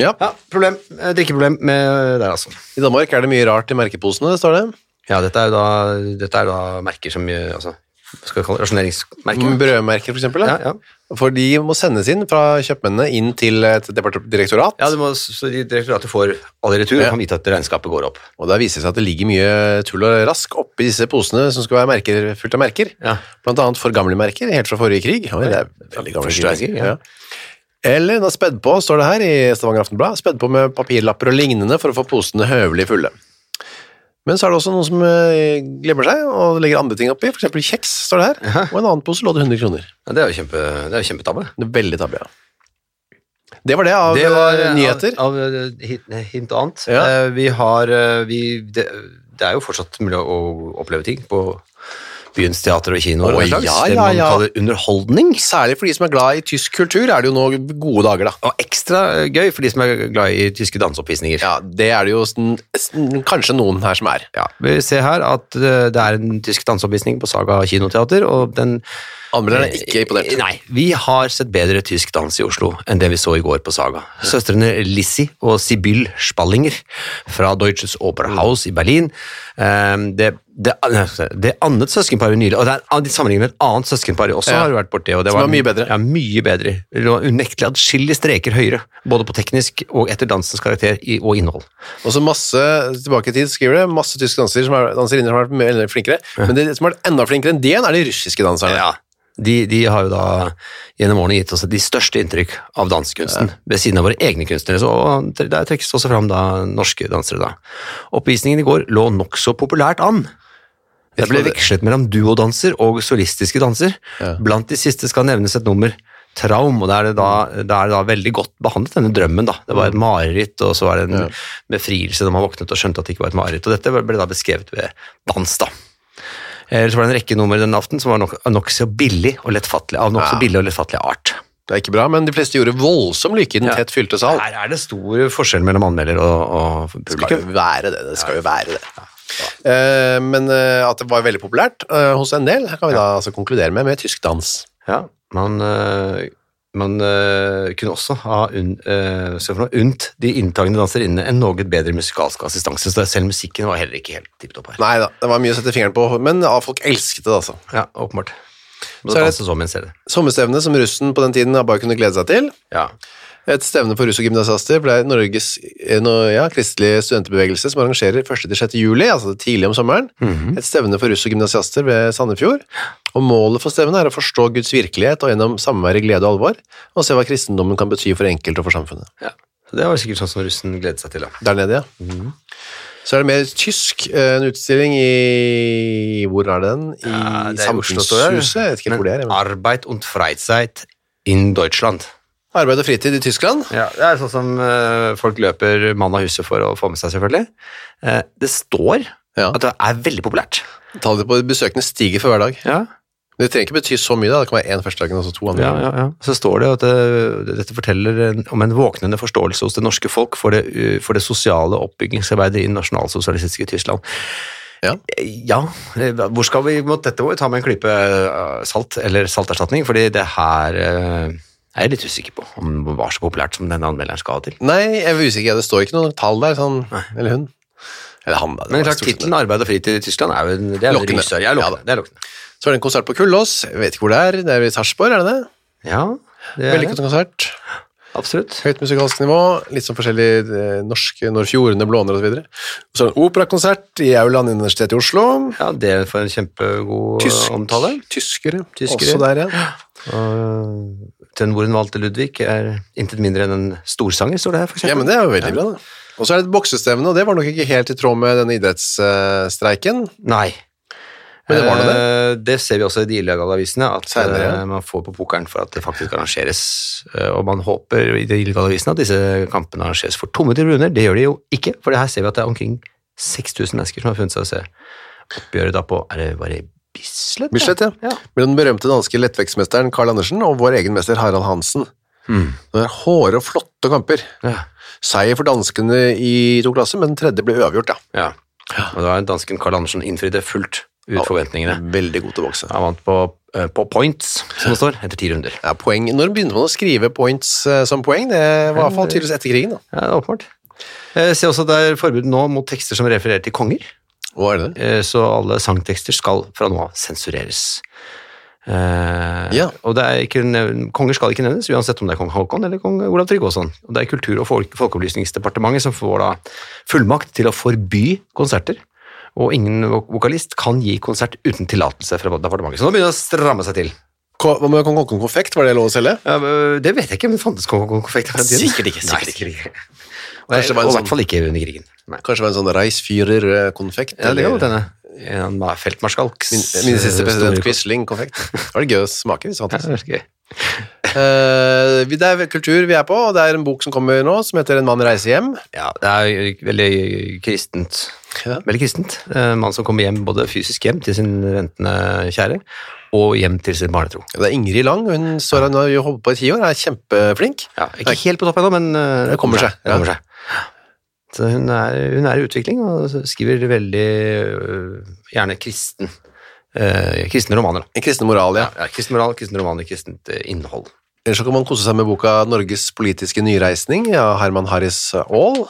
A: Ja.
B: Ja, problem, eh, drikkeproblem med der altså.
A: I Danmark er det mye rart i merkeposene, står det.
B: Ja, dette er jo da, dette er da merker som eh, altså, Hva skal vi kalle det? Rasjoneringsmerker?
A: Brødmerker, for eksempel.
B: Ja,
A: da.
B: Mm. ja.
A: For de må sendes inn fra kjøpmennene inn til et depart- direktorat.
B: ja du må, så de direktoratet får alle i retur
A: Ja.
B: og kan vite at regnskapet går opp.
A: Og der viser det seg at det ligger mye tull og rask oppi disse posene som skal være merker, fullt av merker.
B: Ja.
A: Blant annet for gamle merker, helt fra forrige krig. Oi, det er veldig gamle
B: Første verdenskrig,
A: krig.
B: ja.
A: Ja. Eller da spedd på, står det her i Stavanger Aftenblad, spedd på med papirlapper og lignende for å få posene høvelig fulle. Men så er det også noen som eh, glemmer seg og legger andre ting oppi, for eksempel kjeks, står det her. Og en annen pose lå det 100 kroner.
B: Ja, det er jo kjempe, det er jo kjempetabbe.
A: Det er veldig tabbe, ja. Det var det av
B: Det var
A: eh,
B: eh,
A: nyheter.
B: Av, av eh, hint, hint og annet.
A: Ja.
B: Eh, Vi har eh, vi, det, det er jo fortsatt mulig å oppleve ting på byens teater og kinoer. og
A: Å,
B: den slags.
A: ja,
B: det
A: ja,
B: man
A: ja.
B: kaller underholdning.
A: Særlig for de som er glad i tysk kultur, er det jo nå gode dager, da.
B: Og ekstra eh, gøy for de som er glad i tyske danseoppvisninger.
A: Ja, det er det jo sn- sn- kanskje noen her som er.
B: Ja, vi ser her at eh, det er en tysk danseoppvisning på Saga kinoteater, og den
A: Anmelderen er ikke imponert.
B: Eh, Nei, vi har sett bedre tysk dans i Oslo enn det vi så i går på Saga. Søstrene Lissi og Sibyl Spallinger fra Deutsches Operhaus i Berlin. Ehm, Det, det, altså, det annet søskenparet nylig, og det er ah, de sammenlignet med et annet søskenpar også,
A: Ja.
B: har jo vært borti, og det
A: Som
B: var
A: var mye bedre.
B: Ja, mye bedre. Det var unektelig adskillig streker høyere, både på teknisk og etter dansens karakter i- og innhold.
A: Og så masse, tilbake i tid skriver det, masse tyske dansere som er, danserinner som har vært mye flinkere, men det som har vært enda flinkere enn det igjen, er de russiske danserne.
B: Ja. De, de har jo da gjennom årene gitt oss de største inntrykk av dansekunsten, ved siden av våre egne kunstnere. Så, og der trekkes det også fram da, norske dansere. Da. Oppvisningen i går lå nokså populært an. Det ble vekslet mellom duodanser og solistiske danser. Blant de siste skal nevnes et nummer Traum, og da er det da, da er det da veldig godt behandlet, denne drømmen. da. Det
A: Mm.
B: var et mareritt, og så var det en befrielse da man våknet og skjønte at det ikke var et mareritt. Og dette ble da beskrevet ved dans, da. Ellers var det en rekke nummer den aften som var nok- av nokså billig og lettfattelig, av nokså
A: Ja.
B: billig og lettfattelig art.
A: Det er ikke bra, men de fleste gjorde voldsom lykke i den
B: Ja.
A: tett fylte sal.
B: Her er det stor forskjell mellom anmelder og, og
A: Det skal
B: publikum.
A: jo være det, det skal jo være det. Eh, men eh, at det var veldig populært eh, hos en del, her kan vi da altså konkludere med, med tysk dans.
B: Ja, man, øh, man øh, kunne også ha unn, øh, se for noe, unnt de inntagende danserinnene en noe bedre musikalsk assistanse, så det- selv musikken var heller ikke helt tipp topp her.
A: Nei da, det var mye å sette fingeren på, men ja, folk elsket det altså.
B: Ja, åpenbart. Men
A: Så er
B: da
A: det-
B: danses om en CD.
A: Sommerstevne som russen på den tiden bare kunne glede seg til,
B: Ja.
A: Et stevne for russ og gymnasiaster ble Norges eh, no- ja, kristelige studentbevegelse som arrangerer 1.-6. juli, altså tidlig om sommeren.
B: Mhm.
A: Et stevne for russ og gymnasiaster ved Sandefjord. Og målet for stevnet er å forstå Guds virkelighet og gjennom samvær i glede og alvor, og se hva kristendommen kan bety for enkelt og for samfunnet.
B: ja. Så det var sikkert sånn som russen gledet seg til. Da.
A: Der nede, ja.
B: Mhm.
A: Så er det mer tysk, eh, en utstilling i Hvor er den? I
B: Ja, det er i Oslo, tror jeg.
A: Samfunnshuset? Jeg vet ikke helt hvor det er. Men.
B: Arbeid und Freizeit in Deutschland.
A: Arbeid og fritid i Tyskland?
B: Ja, det er sånn som øh, folk løper mann av huset for å få med seg, selvfølgelig. Eh, det står
A: Ja.
B: at det er veldig populært.
A: Tallet på besøkende stiger for hver dag.
B: Ja.
A: Det trenger ikke bety så mye, da. Det kan være én førstedagen og så to andre.
B: Ja, ja, ja. Mm. Så står det at eh, dette forteller en- om en våknende forståelse hos det norske folk for det, eh, for det sosiale oppbyggingsarbeidet i nasjonalsosialistiske Tyskland.
A: Ja.
B: Eh, Ja, eh, hvor skal vi, må- dette må vi ta med en klype eh, salt eller salterstatning, fordi det her eh, er jeg litt usikker på om det var så populært som denne anmelderen skal ha til.
A: Nei, jeg var usikker. Det står ikke noe tall der, sånn, eller hun. Eller han, da. det
B: Men
A: var
B: klart,
A: stort sett
B: tittelen 'Arbeid og fritid i Tyskland' er jo en, det er jo en
A: Lokkende.
B: rysere. Ja,
A: Ja,
B: lokkende.
A: da.
B: det er lokkende.
A: det. Så var det en konsert på Kullås. Jeg vet ikke hvor det er. Det er i Sarpsborg, er det det?
B: Ja, det er
A: Vellykket
B: det.
A: konsert.
B: Absolutt.
A: Høyt musikalsk nivå. Litt sånn forskjellig eh, norsk når fjordene blåner osv. Og så er det en operakonsert i Auland Universitet i Oslo.
B: Ja, det for en kjempegod eh,
A: Tysk-
B: omtale.
A: Tyskere.
B: Tyskere.
A: Også der, ja.
B: Og den hvor hun valgte Ludvig er intet mindre enn en storsanger, står det her for eksempel.
A: Ja, men det er jo veldig bra, da. Og så er det et boksestevne, og det var nok ikke helt i tråd med denne idrettsstreiken.
B: Nei.
A: Men det var noe
B: Eh, det ser vi også i de illegale avisene, at
A: Senere, ja.
B: eh, man får på pokeren for at det faktisk arrangeres. Eh, Og man håper i de illegale avisene at disse kampene arrangeres for tomme tribuner. Det gjør de jo ikke, for det her ser vi at det er omkring 6000 mennesker som har funnet seg å se oppgjøret da på Er det bare Bislett? da?
A: Bislett, ja.
B: ja.
A: Mellom den berømte danske lettvektsmesteren Carl Andersen og vår egen mester Harald Hansen. Det er hårde og flotte kamper.
B: Mm. Ja.
A: Seier for danskene i to klasser, men den tredje ble uavgjort, ja.
B: ja. Og da har dansken Carl Andersen innfridd det fullt ut forventningene.
A: Veldig god til å bokse.
B: Han vant på, eh, på points, som det står, etter ti runder.
A: Ja, poeng. Når begynte man å skrive points eh, som poeng? Det var i hvert fall tydeligvis etter krigen, da.
B: Ja, åpenbart. Jeg ser også at det er forbud nå mot tekster som refererer til konger,
A: Hva er det?
B: eh, så alle sangtekster skal fra nå av sensureres. Eh,
A: Ja.
B: Og det er ikke, nev- konger skal ikke nevnes, uansett om det er kong Haakon eller kong Olav Tryggvason. Og det er Kultur- og folk, folkeopplysningsdepartementet som får da fullmakt til å forby konserter. Og ingen vok- vokalist kan gi konsert uten tillatelse fra departementet. Så nå begynner det å stramme seg til.
A: Ko- Hva med Kong Håkon konfekt? Var det lov å selge?
B: Ja, men øh, Det vet jeg ikke, men fantes konfekt på den tiden?
A: Sikkert ikke, sikkert
B: Nei, ikke. Og
A: Kanskje det
B: jeg-
A: var en
B: og i
A: sånn-
B: hvert fall ikke under krigen. Nei.
A: Kanskje det var en sånn Reisfyrer-konfekt?
B: Ja, det kan godt hende.
A: Eh,
B: En ma- feltmarskalks
A: Min, min siste
B: eh,
A: president
B: store-
A: Quisling-konfekt. Det var det gøy å smake hvis det
B: Ja,
A: fantes.
B: det er gøy.
A: Eh, vi- det er kultur vi er på, og det er en bok som kommer nå som heter En mann reiser hjem.
B: Ja, det er veldig øh, kristent.
A: Ja.
B: Veldig kristent. Eh, En mann som kommer hjem, både fysisk hjem til sin ventende kjære, og hjem til sin barnetro.
A: Det er Ingrid Lang, hun står her nå og holder på i ti år, er kjempeflink.
B: Ja, ikke helt på topp ennå, men eh,
A: Det kommer seg,
B: Det
A: ja.
B: kommer seg. Så hun er, hun er i utvikling og skriver veldig øh, gjerne kristen, eh, kristne romaner. da.
A: En kristen moral, ja.
B: Ja, kristen moral, kristne romaner, kristent eh, innhold.
A: Ellers så kan man kose seg med boka Norges politiske nyreisning av Herman Harris Aall,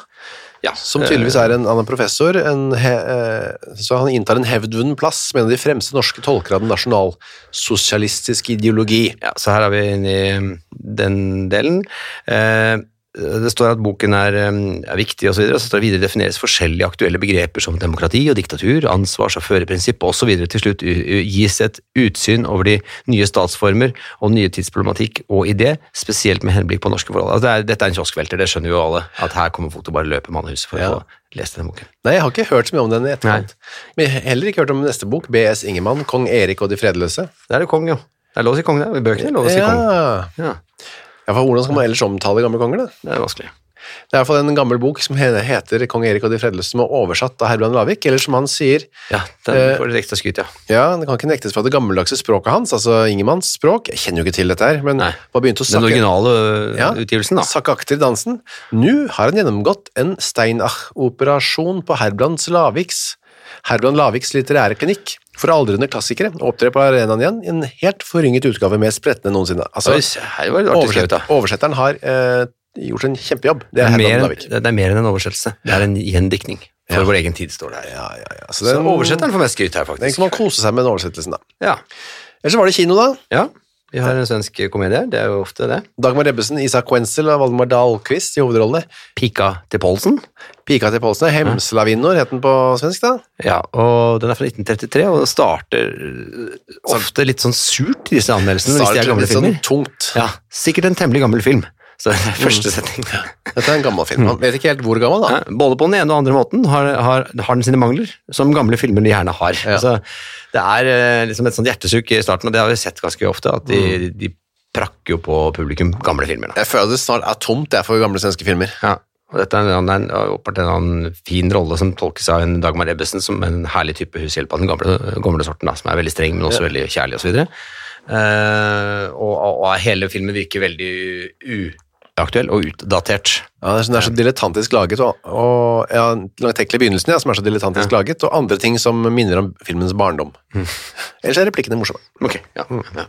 B: Ja,
A: som tydeligvis er en annen professor. En he, eh, så han inntar en hevdvunnen plass med en av de fremste norske tolker av den nasjonalsosialistiske ideologi.
B: Ja, så her er vi inne i mm, den delen. Eh, det står at boken er, eh, er viktig osv. Så, videre, og så står det videre defineres forskjellige aktuelle begreper som demokrati og diktatur, ansvars- og førerprinsipp osv. Til slutt u- u- gis et utsyn over de nye statsformer og nye tidsproblematikk og idé, spesielt med henblikk på norske forhold. Altså, det er, dette er en kioskvelter, det skjønner jo alle. At her kommer folk til å bare løpe mannehuset for
A: Ja.
B: å få lest denne boken.
A: Nei, jeg har ikke hørt så mye om den i etterkant. Men jeg har heller ikke hørt om neste bok, B.S. Ingemann, Kong Erik og de fredløse.
B: Der er det kong, jo. Det er lov å si kong, det. I bøkene er det lov å si kong.
A: Ja.
B: Ja,
A: Ja, for hvordan skal man ellers omtale gamle konger, da?
B: det er vanskelig.
A: Det er i hvert fall en gammel bok som he- heter Kong Erik og de fredløse, som er oversatt av Herbrand Lavik, eller som han sier,
B: Ja,
A: Eh,
B: der får dere ekstra skryt, ja.
A: ja, det kan ikke nektes fra det gammeldagse språket hans, altså Ingemanns språk, jeg kjenner jo ikke til dette her, men
B: Nei.
A: bare begynte å
B: Den
A: snakke,
B: originale øh,
A: Ja.
B: utgivelsen, da.
A: sakke akter i dansen. Nå har han gjennomgått en Steinach-operasjon på Herbrands Laviks, Herbrand Laviks litterære klinikk, for aldrende klassikere, og opptrer på arenaen igjen i en helt forrynget utgave mer sprettende enn noensinne. Altså,
B: Oi, se her var det artig skrevet, da.
A: oversett- oversetteren har eh, gjort en kjempejobb, det
B: Det
A: er
B: er,
A: Herbrand
B: mer,
A: Lavik.
B: det er mer enn en oversettelse. Det er en gjendiktning for vår egen tid, står det her.
A: Ja, ja, ja. Så
B: Så
A: den,
B: oversetteren får mest skryt her,
A: den
B: faktisk.
A: kan man kose seg med den oversettelsen, da.
B: Ja.
A: Ellers så var det kino, da.
B: ja. Vi har en svensk komedie, det er jo ofte det.
A: Dagmar Ebbesen, Isak Wenzel og Valdemar Dahlqvist i hovedrollene.
B: Pika til Polsen.
A: Pika til Polsen, Hemselavinnor het den på svensk, da.
B: Ja, og den er fra 1933, og den starter øh, ofte litt sånn surt i disse anmeldelsene, hvis de er
A: Starter
B: gamle
A: litt sånn Mm.
B: filmer.
A: tungt.
B: Ja, sikkert en temmelig gammel film. Så det er første setning.
A: Dette er en gammel film. Man vet ikke helt hvor gammel, da.
B: Ja, Både på den ene og andre måten har, har, har den sine mangler, som gamle filmer de gjerne har. Altså, det er eh, liksom et sånt hjertesukk i starten, og det har vi sett ganske ofte, at de, de prakker jo på publikum gamle filmer. Da.
A: Jeg føler det snart er tomt det er for gamle svenske filmer.
B: Ja. Og dette er en, en, åpenbart en annen fin rolle som tolkes av en Dagmar Ebbesen som en herlig type hushjelp av den gamle, gamle sorten, da, som er veldig streng, men også veldig kjærlig osv. Uh, og, og hele filmen virker veldig uaktuell og utdatert.
A: Ja, det er, sånn, det er så dilettantisk laget, og, og ja, langtekkelig begynnelsen ja, Mm. som er så dilettantisk laget, og andre ting som minner om filmens barndom. Ellers er replikkene morsomme.
B: Ok, ja. ja.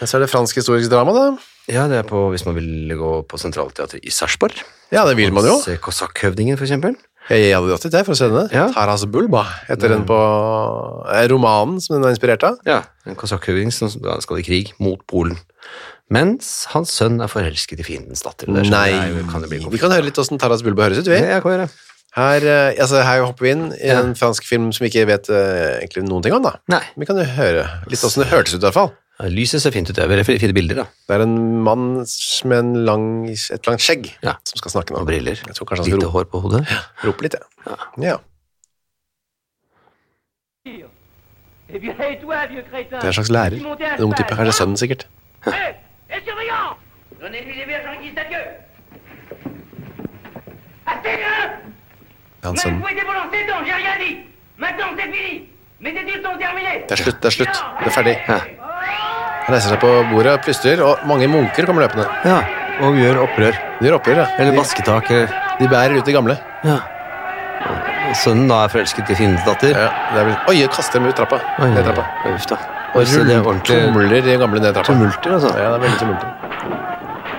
A: Men Så er det fransk historisk drama, da.
B: Ja, det er på, hvis man vil gå på Sentralteatret i Sarpsborg.
A: Ja, det vil man jo.
B: Se Kosakkhøvdingen, for eksempel.
A: Eh, Jeg hadde dratt dit jeg, for å se denne.
B: Ja.
A: Taras Bulba heter den på eh, romanen som den er inspirert av.
B: Ja, en kosakkhøvding som da skal i krig mot Polen. Mens hans sønn er forelsket i fiendens datter. Det skjønner jeg jo, kan det bli
A: vi kan høre litt hvordan Taras Bulba høres ut, vi.
B: Ja, jeg kan gjøre det.
A: Her, eh, altså, her hopper vi inn i en fransk film som vi ikke vet eh, egentlig noen ting om, da.
B: Nei.
A: Vi kan jo høre litt hvordan det hørtes ut, i hvert fall.
B: Lyset ser fint ut. Det er veldig fine bilder, da.
A: Det er en mann med en lang, et langt skjegg
B: Ja.
A: som skal snakke nå.
B: Og briller.
A: Jeg tror kanskje han
B: Lite
A: skal rope,
B: hår på hodet.
A: rope litt, ja. ja.
E: Eh bien, et toi, vieux crétin
A: Det er en slags lærer. En ung type. Kanskje sønnen, sikkert.
E: Hé Et surveillant Donnez-lui les verges en guise d'adieu Assez-le
A: Det er hans sønn.
E: hein. Même vous vos lancers dents, j'ai rien dit Maintenant, c'est fini Mes études sont terminées
A: Det er slutt, det er slutt. Det er ferdig. Han reiser seg på bordet og plystrer, og mange munker kommer løpende.
B: Ja, og gjør opprør.
A: De gjør opprør, ja.
B: Eller basketak. eller-
A: De bærer ut de gamle.
B: Ja. Sønnen da er forelsket i fiendens datter.
A: Ja, det er vel... Oi, jeg kaster dem ut trappa.
B: Oi,
A: Ned trappa.
B: Uff da.
A: Og
B: Så det er ordentlig
A: tumler de gamle ned trappa.
B: tumulter, altså.
A: Ja, det er veldig tumulter.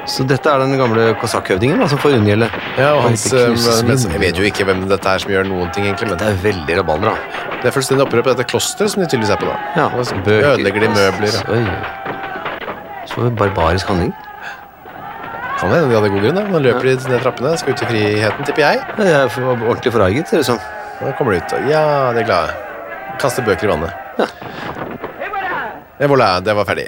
B: Så dette er den gamle kosakkhøvdingen da, som får unngjelde.
A: Ja, og hans...
B: Det knuses
A: eh, men-
B: mye.
A: Jeg vet jo ikke hvem dette er som gjør noen ting, egentlig, men
B: Det er veldig rabalder, da.
A: det er fullstendig opprør på dette klosteret som de tydeligvis er på da.
B: Ja,
A: Og så ødelegger de møbler. og-
B: Oi. Så barbarisk handling.
A: Kan hende de hadde god grunn, da. Nå løper de ned trappene, skal ut i friheten, tipper jeg.
B: Ja, Jeg var ordentlig forarget, ser det ut som.
A: Og da kommer de ut, og ja, de er glade. Kaster bøker i vannet.
E: Et voilà
A: Ja, voilà, det var ferdig.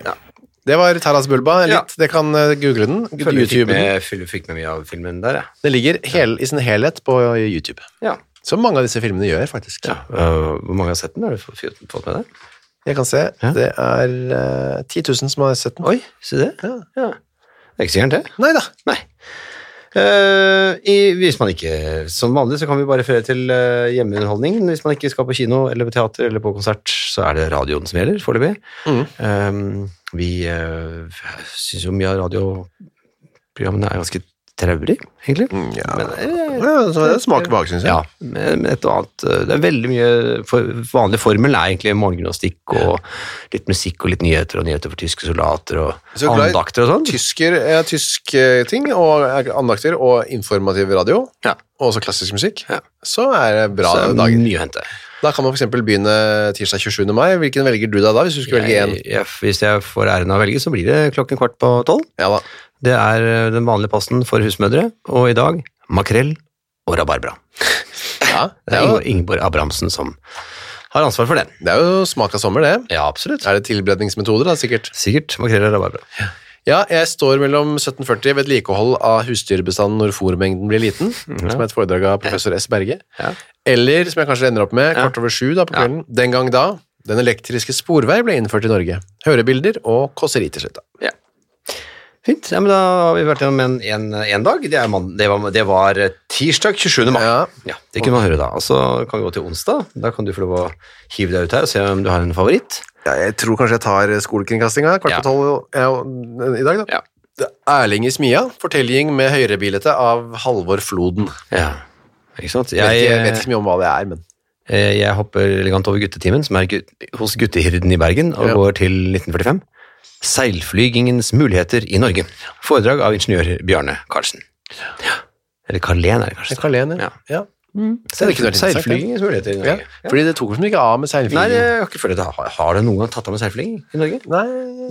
A: Det var Taras Bulba. Litt,
B: Ja.
A: Det kan eh, google den. YouTube. den.
B: fikk med, fyl- fikk med mye av filmen der, jeg.
A: Det ligger hel, i sin helhet på eh, YouTube.
B: Ja.
A: Som mange av disse filmene gjør, faktisk.
B: ja. øh, hvor mange har sett den? Har du fått fått med deg?
A: Jeg kan se.
B: Ja.
A: Det er eh, 10 000 som har sett den.
B: Oi, se det. Ja. Det er ikke så gærent, det.
A: Nei da.
B: Nei. Eh, i, hvis man ikke Som vanlig så kan vi bare føre til eh, hjemmeunderholdning. Hvis man ikke skal på kino eller på teater eller på konsert, så er det radioen som gjelder foreløpig.
A: Mm.
B: Eh, vi uh, syns jo mye av radioprogrammene er ganske traurig, egentlig.
A: Mm, Ja.
B: Men, eh,
A: Ja, så det smaker behag, syns jeg.
B: ja, men et og annet eh, Det er veldig mye for, Vanlig formel er egentlig morgengnostikk og litt musikk og litt nyheter og nyheter for tyske soldater og
A: Så glad i
B: andakter og sånn.
A: Tysker er tysk eh, ting, og er andakter, og informativ radio,
B: Ja.
A: og også klassisk musikk.
B: Ja.
A: Så er det bra
B: Så det er
A: dager.
B: mye å hente.
A: Da kan man f.eks. begynne tirsdag 27. mai. Hvilken velger du da, da hvis du skulle velge én?
B: Jeg- jeg- Hvis jeg får æren av å velge, så blir det klokken kvart på tolv.
A: Ja da.
B: Det er eh, den vanlige passen for husmødre, og i dag makrell og rabarbra.
A: Ja,
B: Det er Ingeborg, Ingeborg Abrahamsen som har ansvar for den.
A: det er jo smak av sommer, det.
B: Ja, absolutt.
A: Er det tilberedningsmetoder, da, sikkert?
B: Sikkert makrell og rabarbra.
A: Ja, jeg står mellom 1740 ved vedlikehold av husdyrbestanden når fòrmengden blir liten, som er et foredrag av professor S. Berge.
B: Ja.
A: Eller, som jeg kanskje ender opp med, kvart over sju da på kvelden, den gang da, den elektriske sporvei ble innført i Norge. Hørebilder og kåseri til slutt. da.
B: Fint. Ja, men da har vi vært gjennom en, en, en dag. Det, er mann- det, var, det var tirsdag 27. mai.
A: Ja.
B: Ja, det kunne man høre da. Og så kan vi gå til onsdag. Da kan du få lov å hive deg ut her og se om du har en favoritt.
A: Ja, jeg tror kanskje jeg tar eh, skolekringkastinga kvart
B: Ja.
A: på tolv ja, eh, i dag, da.
B: Ja.
A: Det er Erling i smia, fortelling med høyrebilete av Halvor Floden.
B: Ja, ikke sant?
A: Jeg,
B: Jeg,
A: vet ikke, vet ikke så mye om hva det er, men
B: eh, jeg hopper elegant over guttetimen, som er gut hos guttehirden i Bergen, og
A: Ja.
B: går til 1945. Seilflygingens muligheter i Norge. Foredrag av ingeniør Bjarne Karlsen. Ja. Eller Karlén, er det kanskje?
A: Karl-Jen, ja.
B: Ja.
A: ja.
B: Så det er ikke noe
A: interessant,
B: Seilflygingens muligheter i
A: Ja,
B: Norge. Ja.
A: Fordi det tok vel ikke av med
B: Nei,
A: seilfingeren.
B: jeg har ikke følt at har, har det noen gang tatt av med seilflyging i Norge?
A: Nei,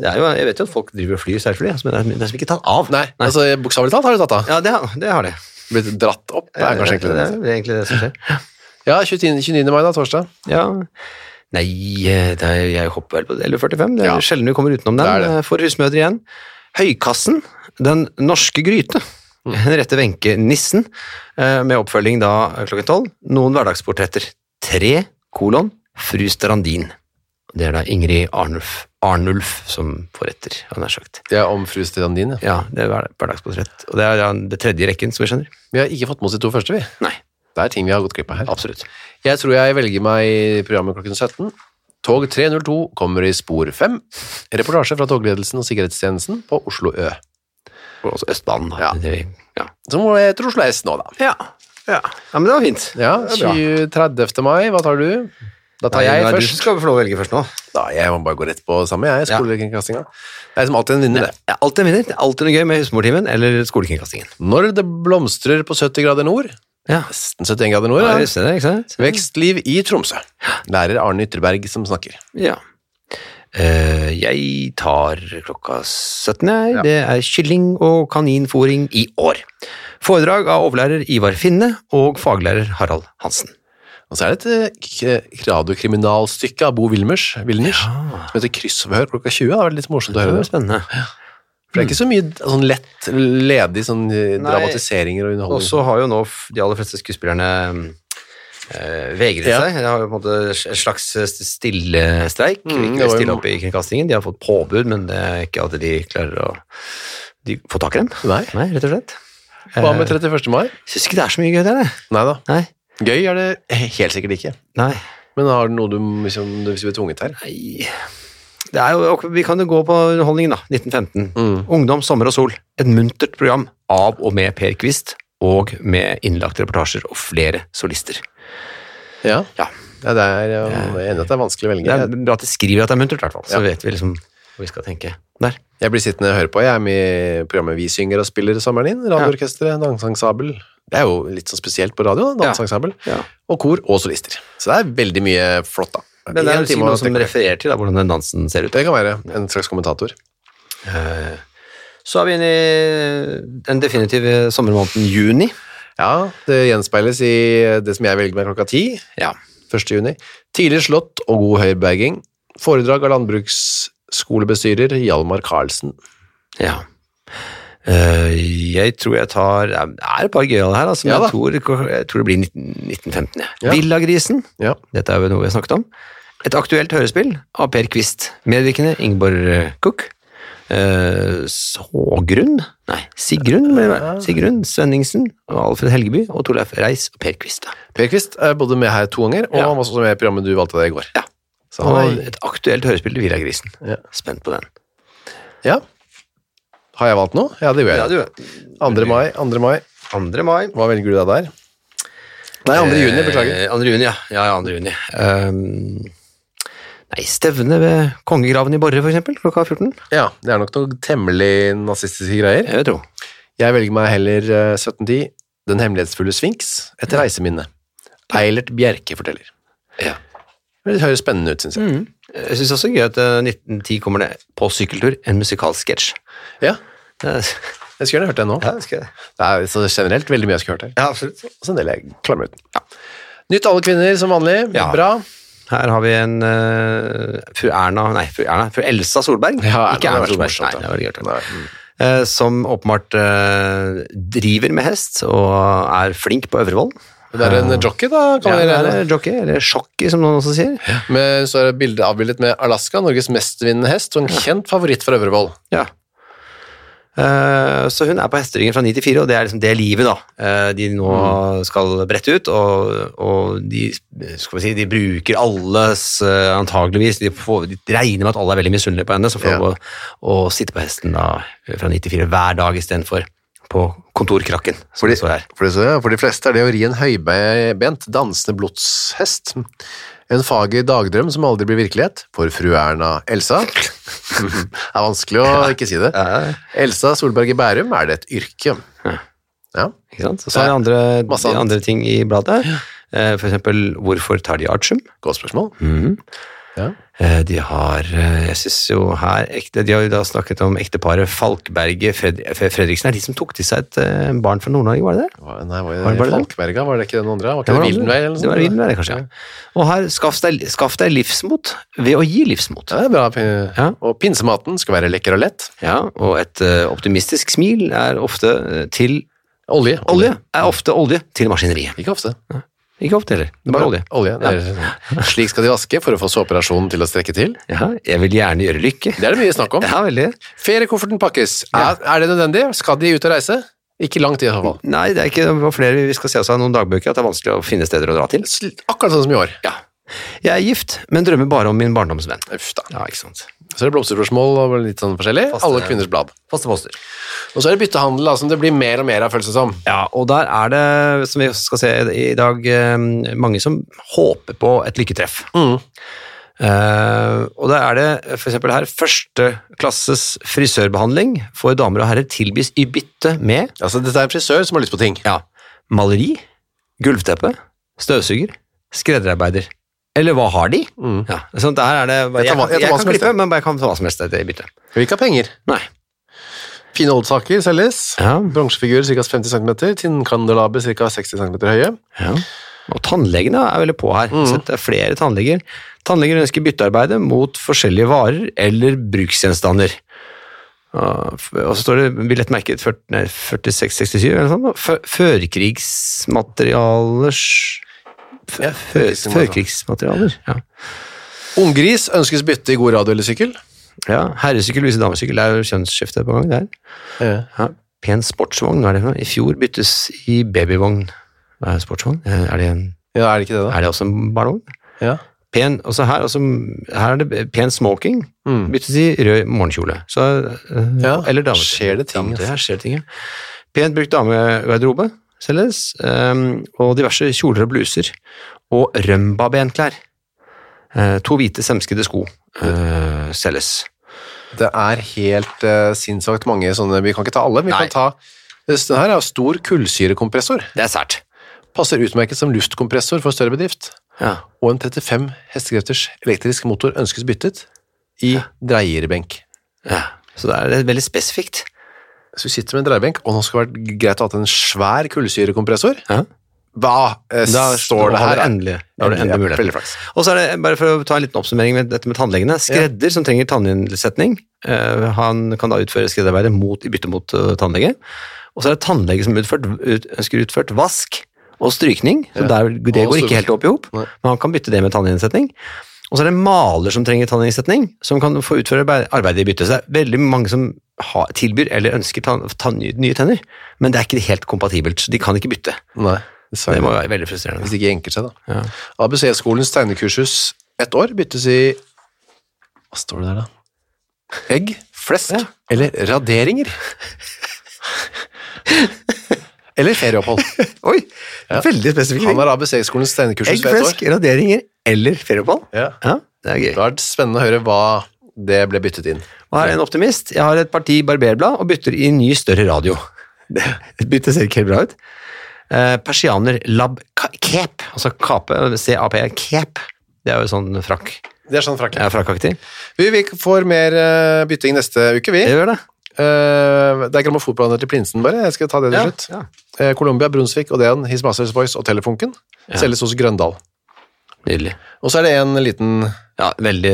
B: Det er jo, jeg vet jo at folk driver og flyr seilfly, altså, men det er, det er som ikke tatt av.
A: Nei, altså bokstavelig talt har du tatt av.
B: Ja, det har det. Har det.
A: Blitt dratt opp, det er kanskje
B: det,
A: egentlig det.
B: er egentlig det som skjer.
A: Ja, 29. 29. mai da, torsdag.
B: Ja. Nei, eh, det er, jeg hopper vel på 11.45. Det er
A: Ja.
B: sjelden vi kommer utenom
A: Det er
B: den.
A: det.
B: eh, For husmødre igjen. Høykassen, Den norske gryte.
A: Mm.
B: Henriette Wenche Nissen, eh, med oppfølging da klokken tolv. Noen hverdagsportretter. Tre kolon fru Strandin. Det er da Ingrid Arnulf, Arnulf som får etter, han har sagt.
A: Det er om fru Strandin, ja.
B: Ja, det er hver- hverdagsportrett. Og det er da det tredje i rekken, som vi skjønner.
A: Vi har ikke fått med oss de to første, vi.
B: Nei,
A: Det er ting vi har gått glipp av her.
B: absolutt.
A: Jeg tror jeg velger meg i programmet klokken 17. Tog 302 kommer i spor 5. Reportasje fra togledelsen og sikkerhetstjenesten på Oslo Ø.
B: Og også Østbanen. da.
A: Ja.
B: Det- Ja.
A: Så må jeg til Oslo S nå, da.
B: Ja. ja. men det var fint.
A: Ja,
B: Det er bra.
A: 20 30. mai, hva tar du? Da tar jeg
B: Nei, Du
A: først.
B: skal få lov å velge først nå.
A: Da, jeg må bare gå rett på samme, jeg.
B: Ja.
A: Skolekringkastinga. Det er som alltid en vinner, det.
B: Ja, Alt jeg vinner. Det er alltid noe gøy med husmortimen eller skolekringkastingen.
A: Når det blomstrer på 70 grader nord,
B: Ja.
A: nesten 71 grader nord,
B: Ja,
A: da.
B: jeg ser det, ikke sant?
A: Vekstliv i Tromsø. Lærer Arne Ytterberg som snakker.
B: Ja. Eh, jeg tar klokka 17, jeg. Det er kylling- og kaninfòring i år. Foredrag av overlærer Ivar Finne og faglærer Harald Hansen.
A: Og så er det et eh, k- radiokriminalstykke av Bo Wilmers, Wilners, som heter Kryssforhør klokka 20. Det har vært litt morsomt å
B: Det
A: høre
B: var
A: det.
B: spennende.
A: For det er ikke så mye sånn lett, ledig sånn eh,
B: Nei.
A: dramatiseringer og
B: Og
A: underholdning.
B: så har jo nå f- de aller fleste skuespillerne eh, vegret
A: Ja.
B: seg. Det har jo på en måte s- en slags st- stillestreik.
A: Mm, det
B: Mm,
A: var jo-
B: stille opp i kringkastingen. De har fått påbud, men det er ikke alltid de klarer å de få tak i dem.
A: Nei.
B: Nei, rett og slett.
A: Hva med
B: Eh,
A: 31. mai?
B: Syns ikke det er så mye gøy der, det.
A: Nei da.
B: Nei.
A: Gøy er det helt sikkert ikke.
B: Nei.
A: Men har du noe du, liksom, hvis du blir tvunget her?
B: Nei. Det er jo, ok, vi kan jo gå på underholdningen, da. 1915.
A: Mm.
B: Ungdom, sommer og sol. Et muntert program av og med Per Kvist, og med innlagte reportasjer og flere solister.
A: Ja.
B: Ja.
A: Ja, det er, ja, jeg er enig at det er vanskelig å
B: Det
A: velge.
B: er bra at de skriver at det er muntert, i hvert fall. Så
A: Ja.
B: vet vi liksom hvor vi skal tenke der.
A: Jeg blir sittende og høre på. Jeg er med i programmet Vi synger og spiller sommeren inn. Radioorkesteret, danseensemble. Det er jo litt sånn spesielt på radio, da, danseensemble.
B: Ja.
A: Og kor og solister. Så det er veldig mye flott, da.
B: Men det er
A: En
B: jo sikkert
A: time å
B: noen som
A: tenke på.
B: refererer til da, hvordan den dansen ser ut.
A: Det kan være en slags kommentator.
B: Så er vi inne i den definitive sommermåneden juni.
A: Ja, det gjenspeiles i det som jeg velger meg klokka ti,
B: Ja.
A: 1. juni. Tidlig slått og god høyberging. Foredrag av landbruksskolebestyrer Hjalmar Karlsen.
B: ja. Eh, jeg tror jeg tar Det er et par gøyale her, altså, men
A: Ja da.
B: jeg, tror, jeg tror det blir 19, 1915. jeg.
A: Ja.
B: Villagrisen.
A: Ja.
B: Dette er jo noe vi har snakket om. Et aktuelt hørespill av Per Kvist. Medvirkende Ingeborg eh, Cook. Eh, Sågrunn Nei, Sigrun, må det være. Sigrun Svenningsen, og Alfred Helgeby og Torleif Reis og Per Kvist. da.
A: Per Kvist er både med her to ganger, og
B: Ja.
A: han var også med i programmet du valgte deg i går.
B: Ja.
A: Så han
B: Og
A: er,
B: et aktuelt hørespill til Villagrisen.
A: Ja.
B: Spent på den.
A: ja. Har jeg valgt noe? Ja, det gjør jeg.
B: du.
A: 2. mai, 2. mai.
B: 2. mai.
A: Hva velger du deg der? Nei, 2. juni, beklager.
B: Eh, 2. juni, ja. ja, ja 2. juni. Ehm, nei, stevne ved kongegraven i Borre, for eksempel, klokka 14.
A: Ja, det er nok noen temmelig nazistiske greier.
B: Jeg vil tro.
A: Jeg velger meg heller eh, 1710, Den hemmelighetsfulle sfinks, et reiseminne. Eilert Bjerke forteller.
B: Ja. Mm.
A: Det høres spennende ut, synes jeg.
B: Jeg syns også det er gøy at eh, 1910 kommer det på sykkeltur en musikalsk sketsj.
A: Ja,
B: Ja,
A: jeg skulle gjerne hørt det nå. Det er så generelt veldig mye jeg skulle hørt her.
B: absolutt.
A: Så en del jeg klammer ut. Nytt alle kvinner som vanlig.
B: Ja.
A: Bra.
B: Her har vi en eh, fru Erna Nei, fru Erna. Fru Elsa Solberg.
A: Ja, Erna, det
B: Ikke Erna
A: var så
B: Solberg.
A: morsomt,
B: nei,
A: ja.
B: det var gøy.
A: Nei.
B: Eh, som åpenbart eh, driver med hest og er flink på Øvrevoll.
A: Det er en jockey, da, kan
B: Ja,
A: vi regne.
B: eller jockey, eller sjokki, som noen også sier.
A: Med, så er det bildet avbildet med Alaska, Norges mestvinnende hest, og en kjent favoritt for Øvrevoll.
B: Ja. Eh, Så hun er på hesteringen fra 9 til 4, og det er liksom det livet da eh, de nå
A: Mm.
B: skal brette ut. Og, og de, skal vi si, de bruker alles eh, antageligvis de, får, de regner med at alle er veldig misunnelige på henne, som får
A: Ja.
B: lov å, å sitte på hesten da eh, fra 9 til 4 hver dag istedenfor på kontorkrakken. Som det står her.
A: For, det så- ja, for de fleste er det å ri en høybent, dansende blodshest. En fager dagdrøm som aldri blir virkelighet, for fru Erna Elsa. det er vanskelig å ikke si det.
B: Ja,
A: Elsa Solberg i Bærum er det et yrke. Ja.
B: ikke sant? Og så er det andre,
A: Masse annet.
B: andre ting i bladet. Eh, For eksempel, hvorfor tar de artium?
A: Godt spørsmål. Ja.
B: Eh, De har, eh, jeg synes jo her, ekte, de har jo da snakket om ekteparet Falkberget Fred, Fred- Fredriksen, er de som tok til seg et eh, barn fra Nord-Norge, var det det?
A: Hva- Nei, var
B: Var
A: det
B: det bare det?
A: Falkberga? Var det ikke den andre? Var ikke det,
B: Det var andre.
A: Vildenvei eller noe
B: Det var Vildenvei, kanskje, ja. Og her, skaff deg, skaff deg livsmot ved å gi livsmot.
A: Ja, det er bra. P-
B: Ja.
A: Og pinsematen skal være lekker og lett.
B: Ja, og et eh, optimistisk smil er ofte eh, til,
A: Olje.
B: olje, er ofte olje til maskineriet.
A: Ikke ofte.
B: Ikke opp til heller. Det er bare olje.
A: Olje. Det er, slik skal de vaske for å få såpeoperasjonen til å strekke til.
B: Ja, jeg vil gjerne gjøre lykke.
A: Det er det mye snakk om.
B: Ja, veldig.
A: Feriekofferten pakkes. Er, er det nødvendig? Skal de ut og reise? Ikke lang tid i så fall.
B: Nei, det er ikke det var flere vi skal se oss av noen dagbøker, at det er vanskelig å finne steder å dra til.
A: Sl- Akkurat sånn som i år.
B: Ja. Jeg er gift, men drømmer bare om min barndomsvenn.
A: Uff da.
B: Ja, ikke sant.
A: Så er det blomsterspørsmål og litt sånn forskjellig.
B: Faste-
A: Alle kvinners blad.
B: Faste poster.
A: Og så er det byttehandel, da, som det blir mer og mer av, føles det som.
B: Ja, og der er det, som vi også skal se i dag, eh, mange som håper på et lykketreff. Eh, og der er det f.eks. her førsteklasses frisørbehandling for damer og herrer tilbys i bytte med
A: Altså, dette er en frisør som har lyst på ting.
B: ja, maleri, gulvteppe, støvsuger, skredderarbeider. Eller hva har de? Ja, sånn, der er det, jeg,
A: Jeg tar hva- jeg
B: kan,
A: tar
B: jeg
A: hva som
B: kan
A: helst,
B: klippe, men jeg kan ta hva som helst i bytte.
A: Vi vil ikke ha penger.
B: Nei.
A: Fine oldsaker selges.
B: Ja,
A: Bronsefigur ca. 50 cm, tinnkandelaber ca. 60 cm høye.
B: Ja. Og tannlegene er veldig på her. Så det er flere tannleger. Tannleger ønsker byttearbeidet mot forskjellige varer eller bruksgjenstander. Og f- og så står det billettmerket 4667 eller noe sånt. da. Fø- Førkrigsmaterialers fø-
A: Ja,
B: fø- Førkrigsmaterialer, ja.
A: Unggris ønskes bytte i god radio eller sykkel.
B: ja. Herresykkel viser damesykkel. Det er jo kjønnsskifte på gang der. Ja. Pen sportsvogn, hva er det for noe? I fjor byttes i babyvogn. Hva er sportsvogn? Eh, Er det, en,
A: Ja, er det ikke det, da?
B: er det også en ballong?
A: Ja.
B: pen, og så her, og så- her er det pen smoking, byttes i rød morgenkjole. Så, eh,
A: Mm. Ja,
B: eller dametøy.
A: skjer det ting,
B: Dametøy,
A: altså.
B: her skjer det ting, ja. Pent brukt damegarderobe selges, ehm, og diverse kjoler og bluser, og rømbabenklær. Eh, to hvite semskede sko eh, selges.
A: Det er helt eh, sinnssvakt mange sånne. Vi kan ikke ta alle. Vi
B: Nei.
A: kan ta Denne her er stor kullsyrekompressor.
B: Det er sært.
A: Passer utmerket som luftkompressor for større bedrift.
B: Ja.
A: Og en 35 hestekrefters elektrisk motor ønskes byttet i dreierbenk.
B: ja. Så det er veldig spesifikt.
A: Så vi sitter med en dreierbenk, og nå skal det være greit å ha en svær kullsyrekompressor.
B: Ja.
A: Hva eh,
B: Da
A: står det
B: har
A: her?
B: du endelig, da har du
A: Endelig,
B: endelig
A: ja, veldig
B: mulighet.
A: flaks.
B: Og så er det, bare for å ta en liten oppsummering med dette med tannlegene, skredder som trenger tanninnsetning, eh, han kan da utføre skredderarbeidet mot, i bytte mot eh, tannlege. Og så er det tannlege som utført, ut, ønsker utført vask og strykning, så der,
A: Og
B: det går
A: strykning.
B: ikke helt opp i hop,
A: Nei.
B: men han kan bytte det med tanninnsetning. Og så er det en maler som trenger tanninnsetning, som kan få utføre arbeid- arbeidet i bytte. Så det er veldig mange som har, tilbyr eller ønsker tann, tann, nye tenner, men det er ikke helt kompatibelt, så de kan ikke bytte.
A: Nei,
B: Det må
A: dessverre.
B: jo være veldig frustrerende.
A: Hvis det ikke enker seg, da.
B: Ja.
A: ABC-skolens tegnekursus ett år byttes i Hva står det der, da? Egg, flesk
B: Ja.
A: eller raderinger? eller ferieopphold.
B: Oi, veldig spesifikk.
A: Han har ABC-skolens tegnekursus
B: Egg,
A: for ett
B: flesk,
A: år.
B: raderinger eller ferieopphold.
A: Ja.
B: Ja, det er gøy.
A: Da er det spennende å høre hva det ble byttet inn.
B: Og her er en optimist. Jeg har et parti barberblad og bytter i ny, større radio. Det byttet ser ikke helt bra ut. Eh, Persianer lab ka- cape, altså kape, C-A-P, cape. Det er jo sånn frakk.
A: Det er sånn frakk.
B: Jeg er frakkaktig.
A: Vi, vi får mer eh, bytting neste uke, vi.
B: Jeg gjør det.
A: Eh, det er grammofonplaner til Prinsen, bare. Jeg skal ta det til
B: Ja,
A: slutt.
B: ja.
A: Eh, Colombia, Brunsvik, Odeon, His Masters Voice og Telefunken selges hos Grøndal.
B: Nydelig.
A: Og så er det en liten
B: Ja, veldig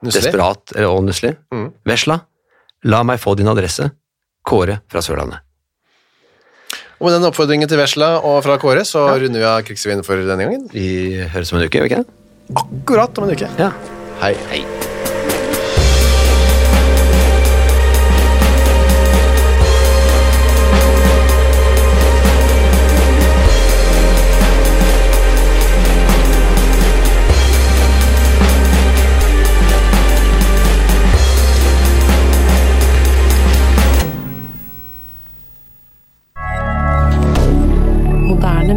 A: Nusselig.
B: desperat eh, og nusselig.
A: Mm.
B: Vesla, la meg få din adresse. Kåre fra Sørlandet.
A: Og med den oppfordringen til Vesla og fra Kåre, så runder vi av Krigsrevyen for denne gangen.
B: Vi høres om en uke, gjør vi ikke det?
A: Akkurat om en uke.
B: Ja.
A: Hei.
B: Hei.
F: Moderne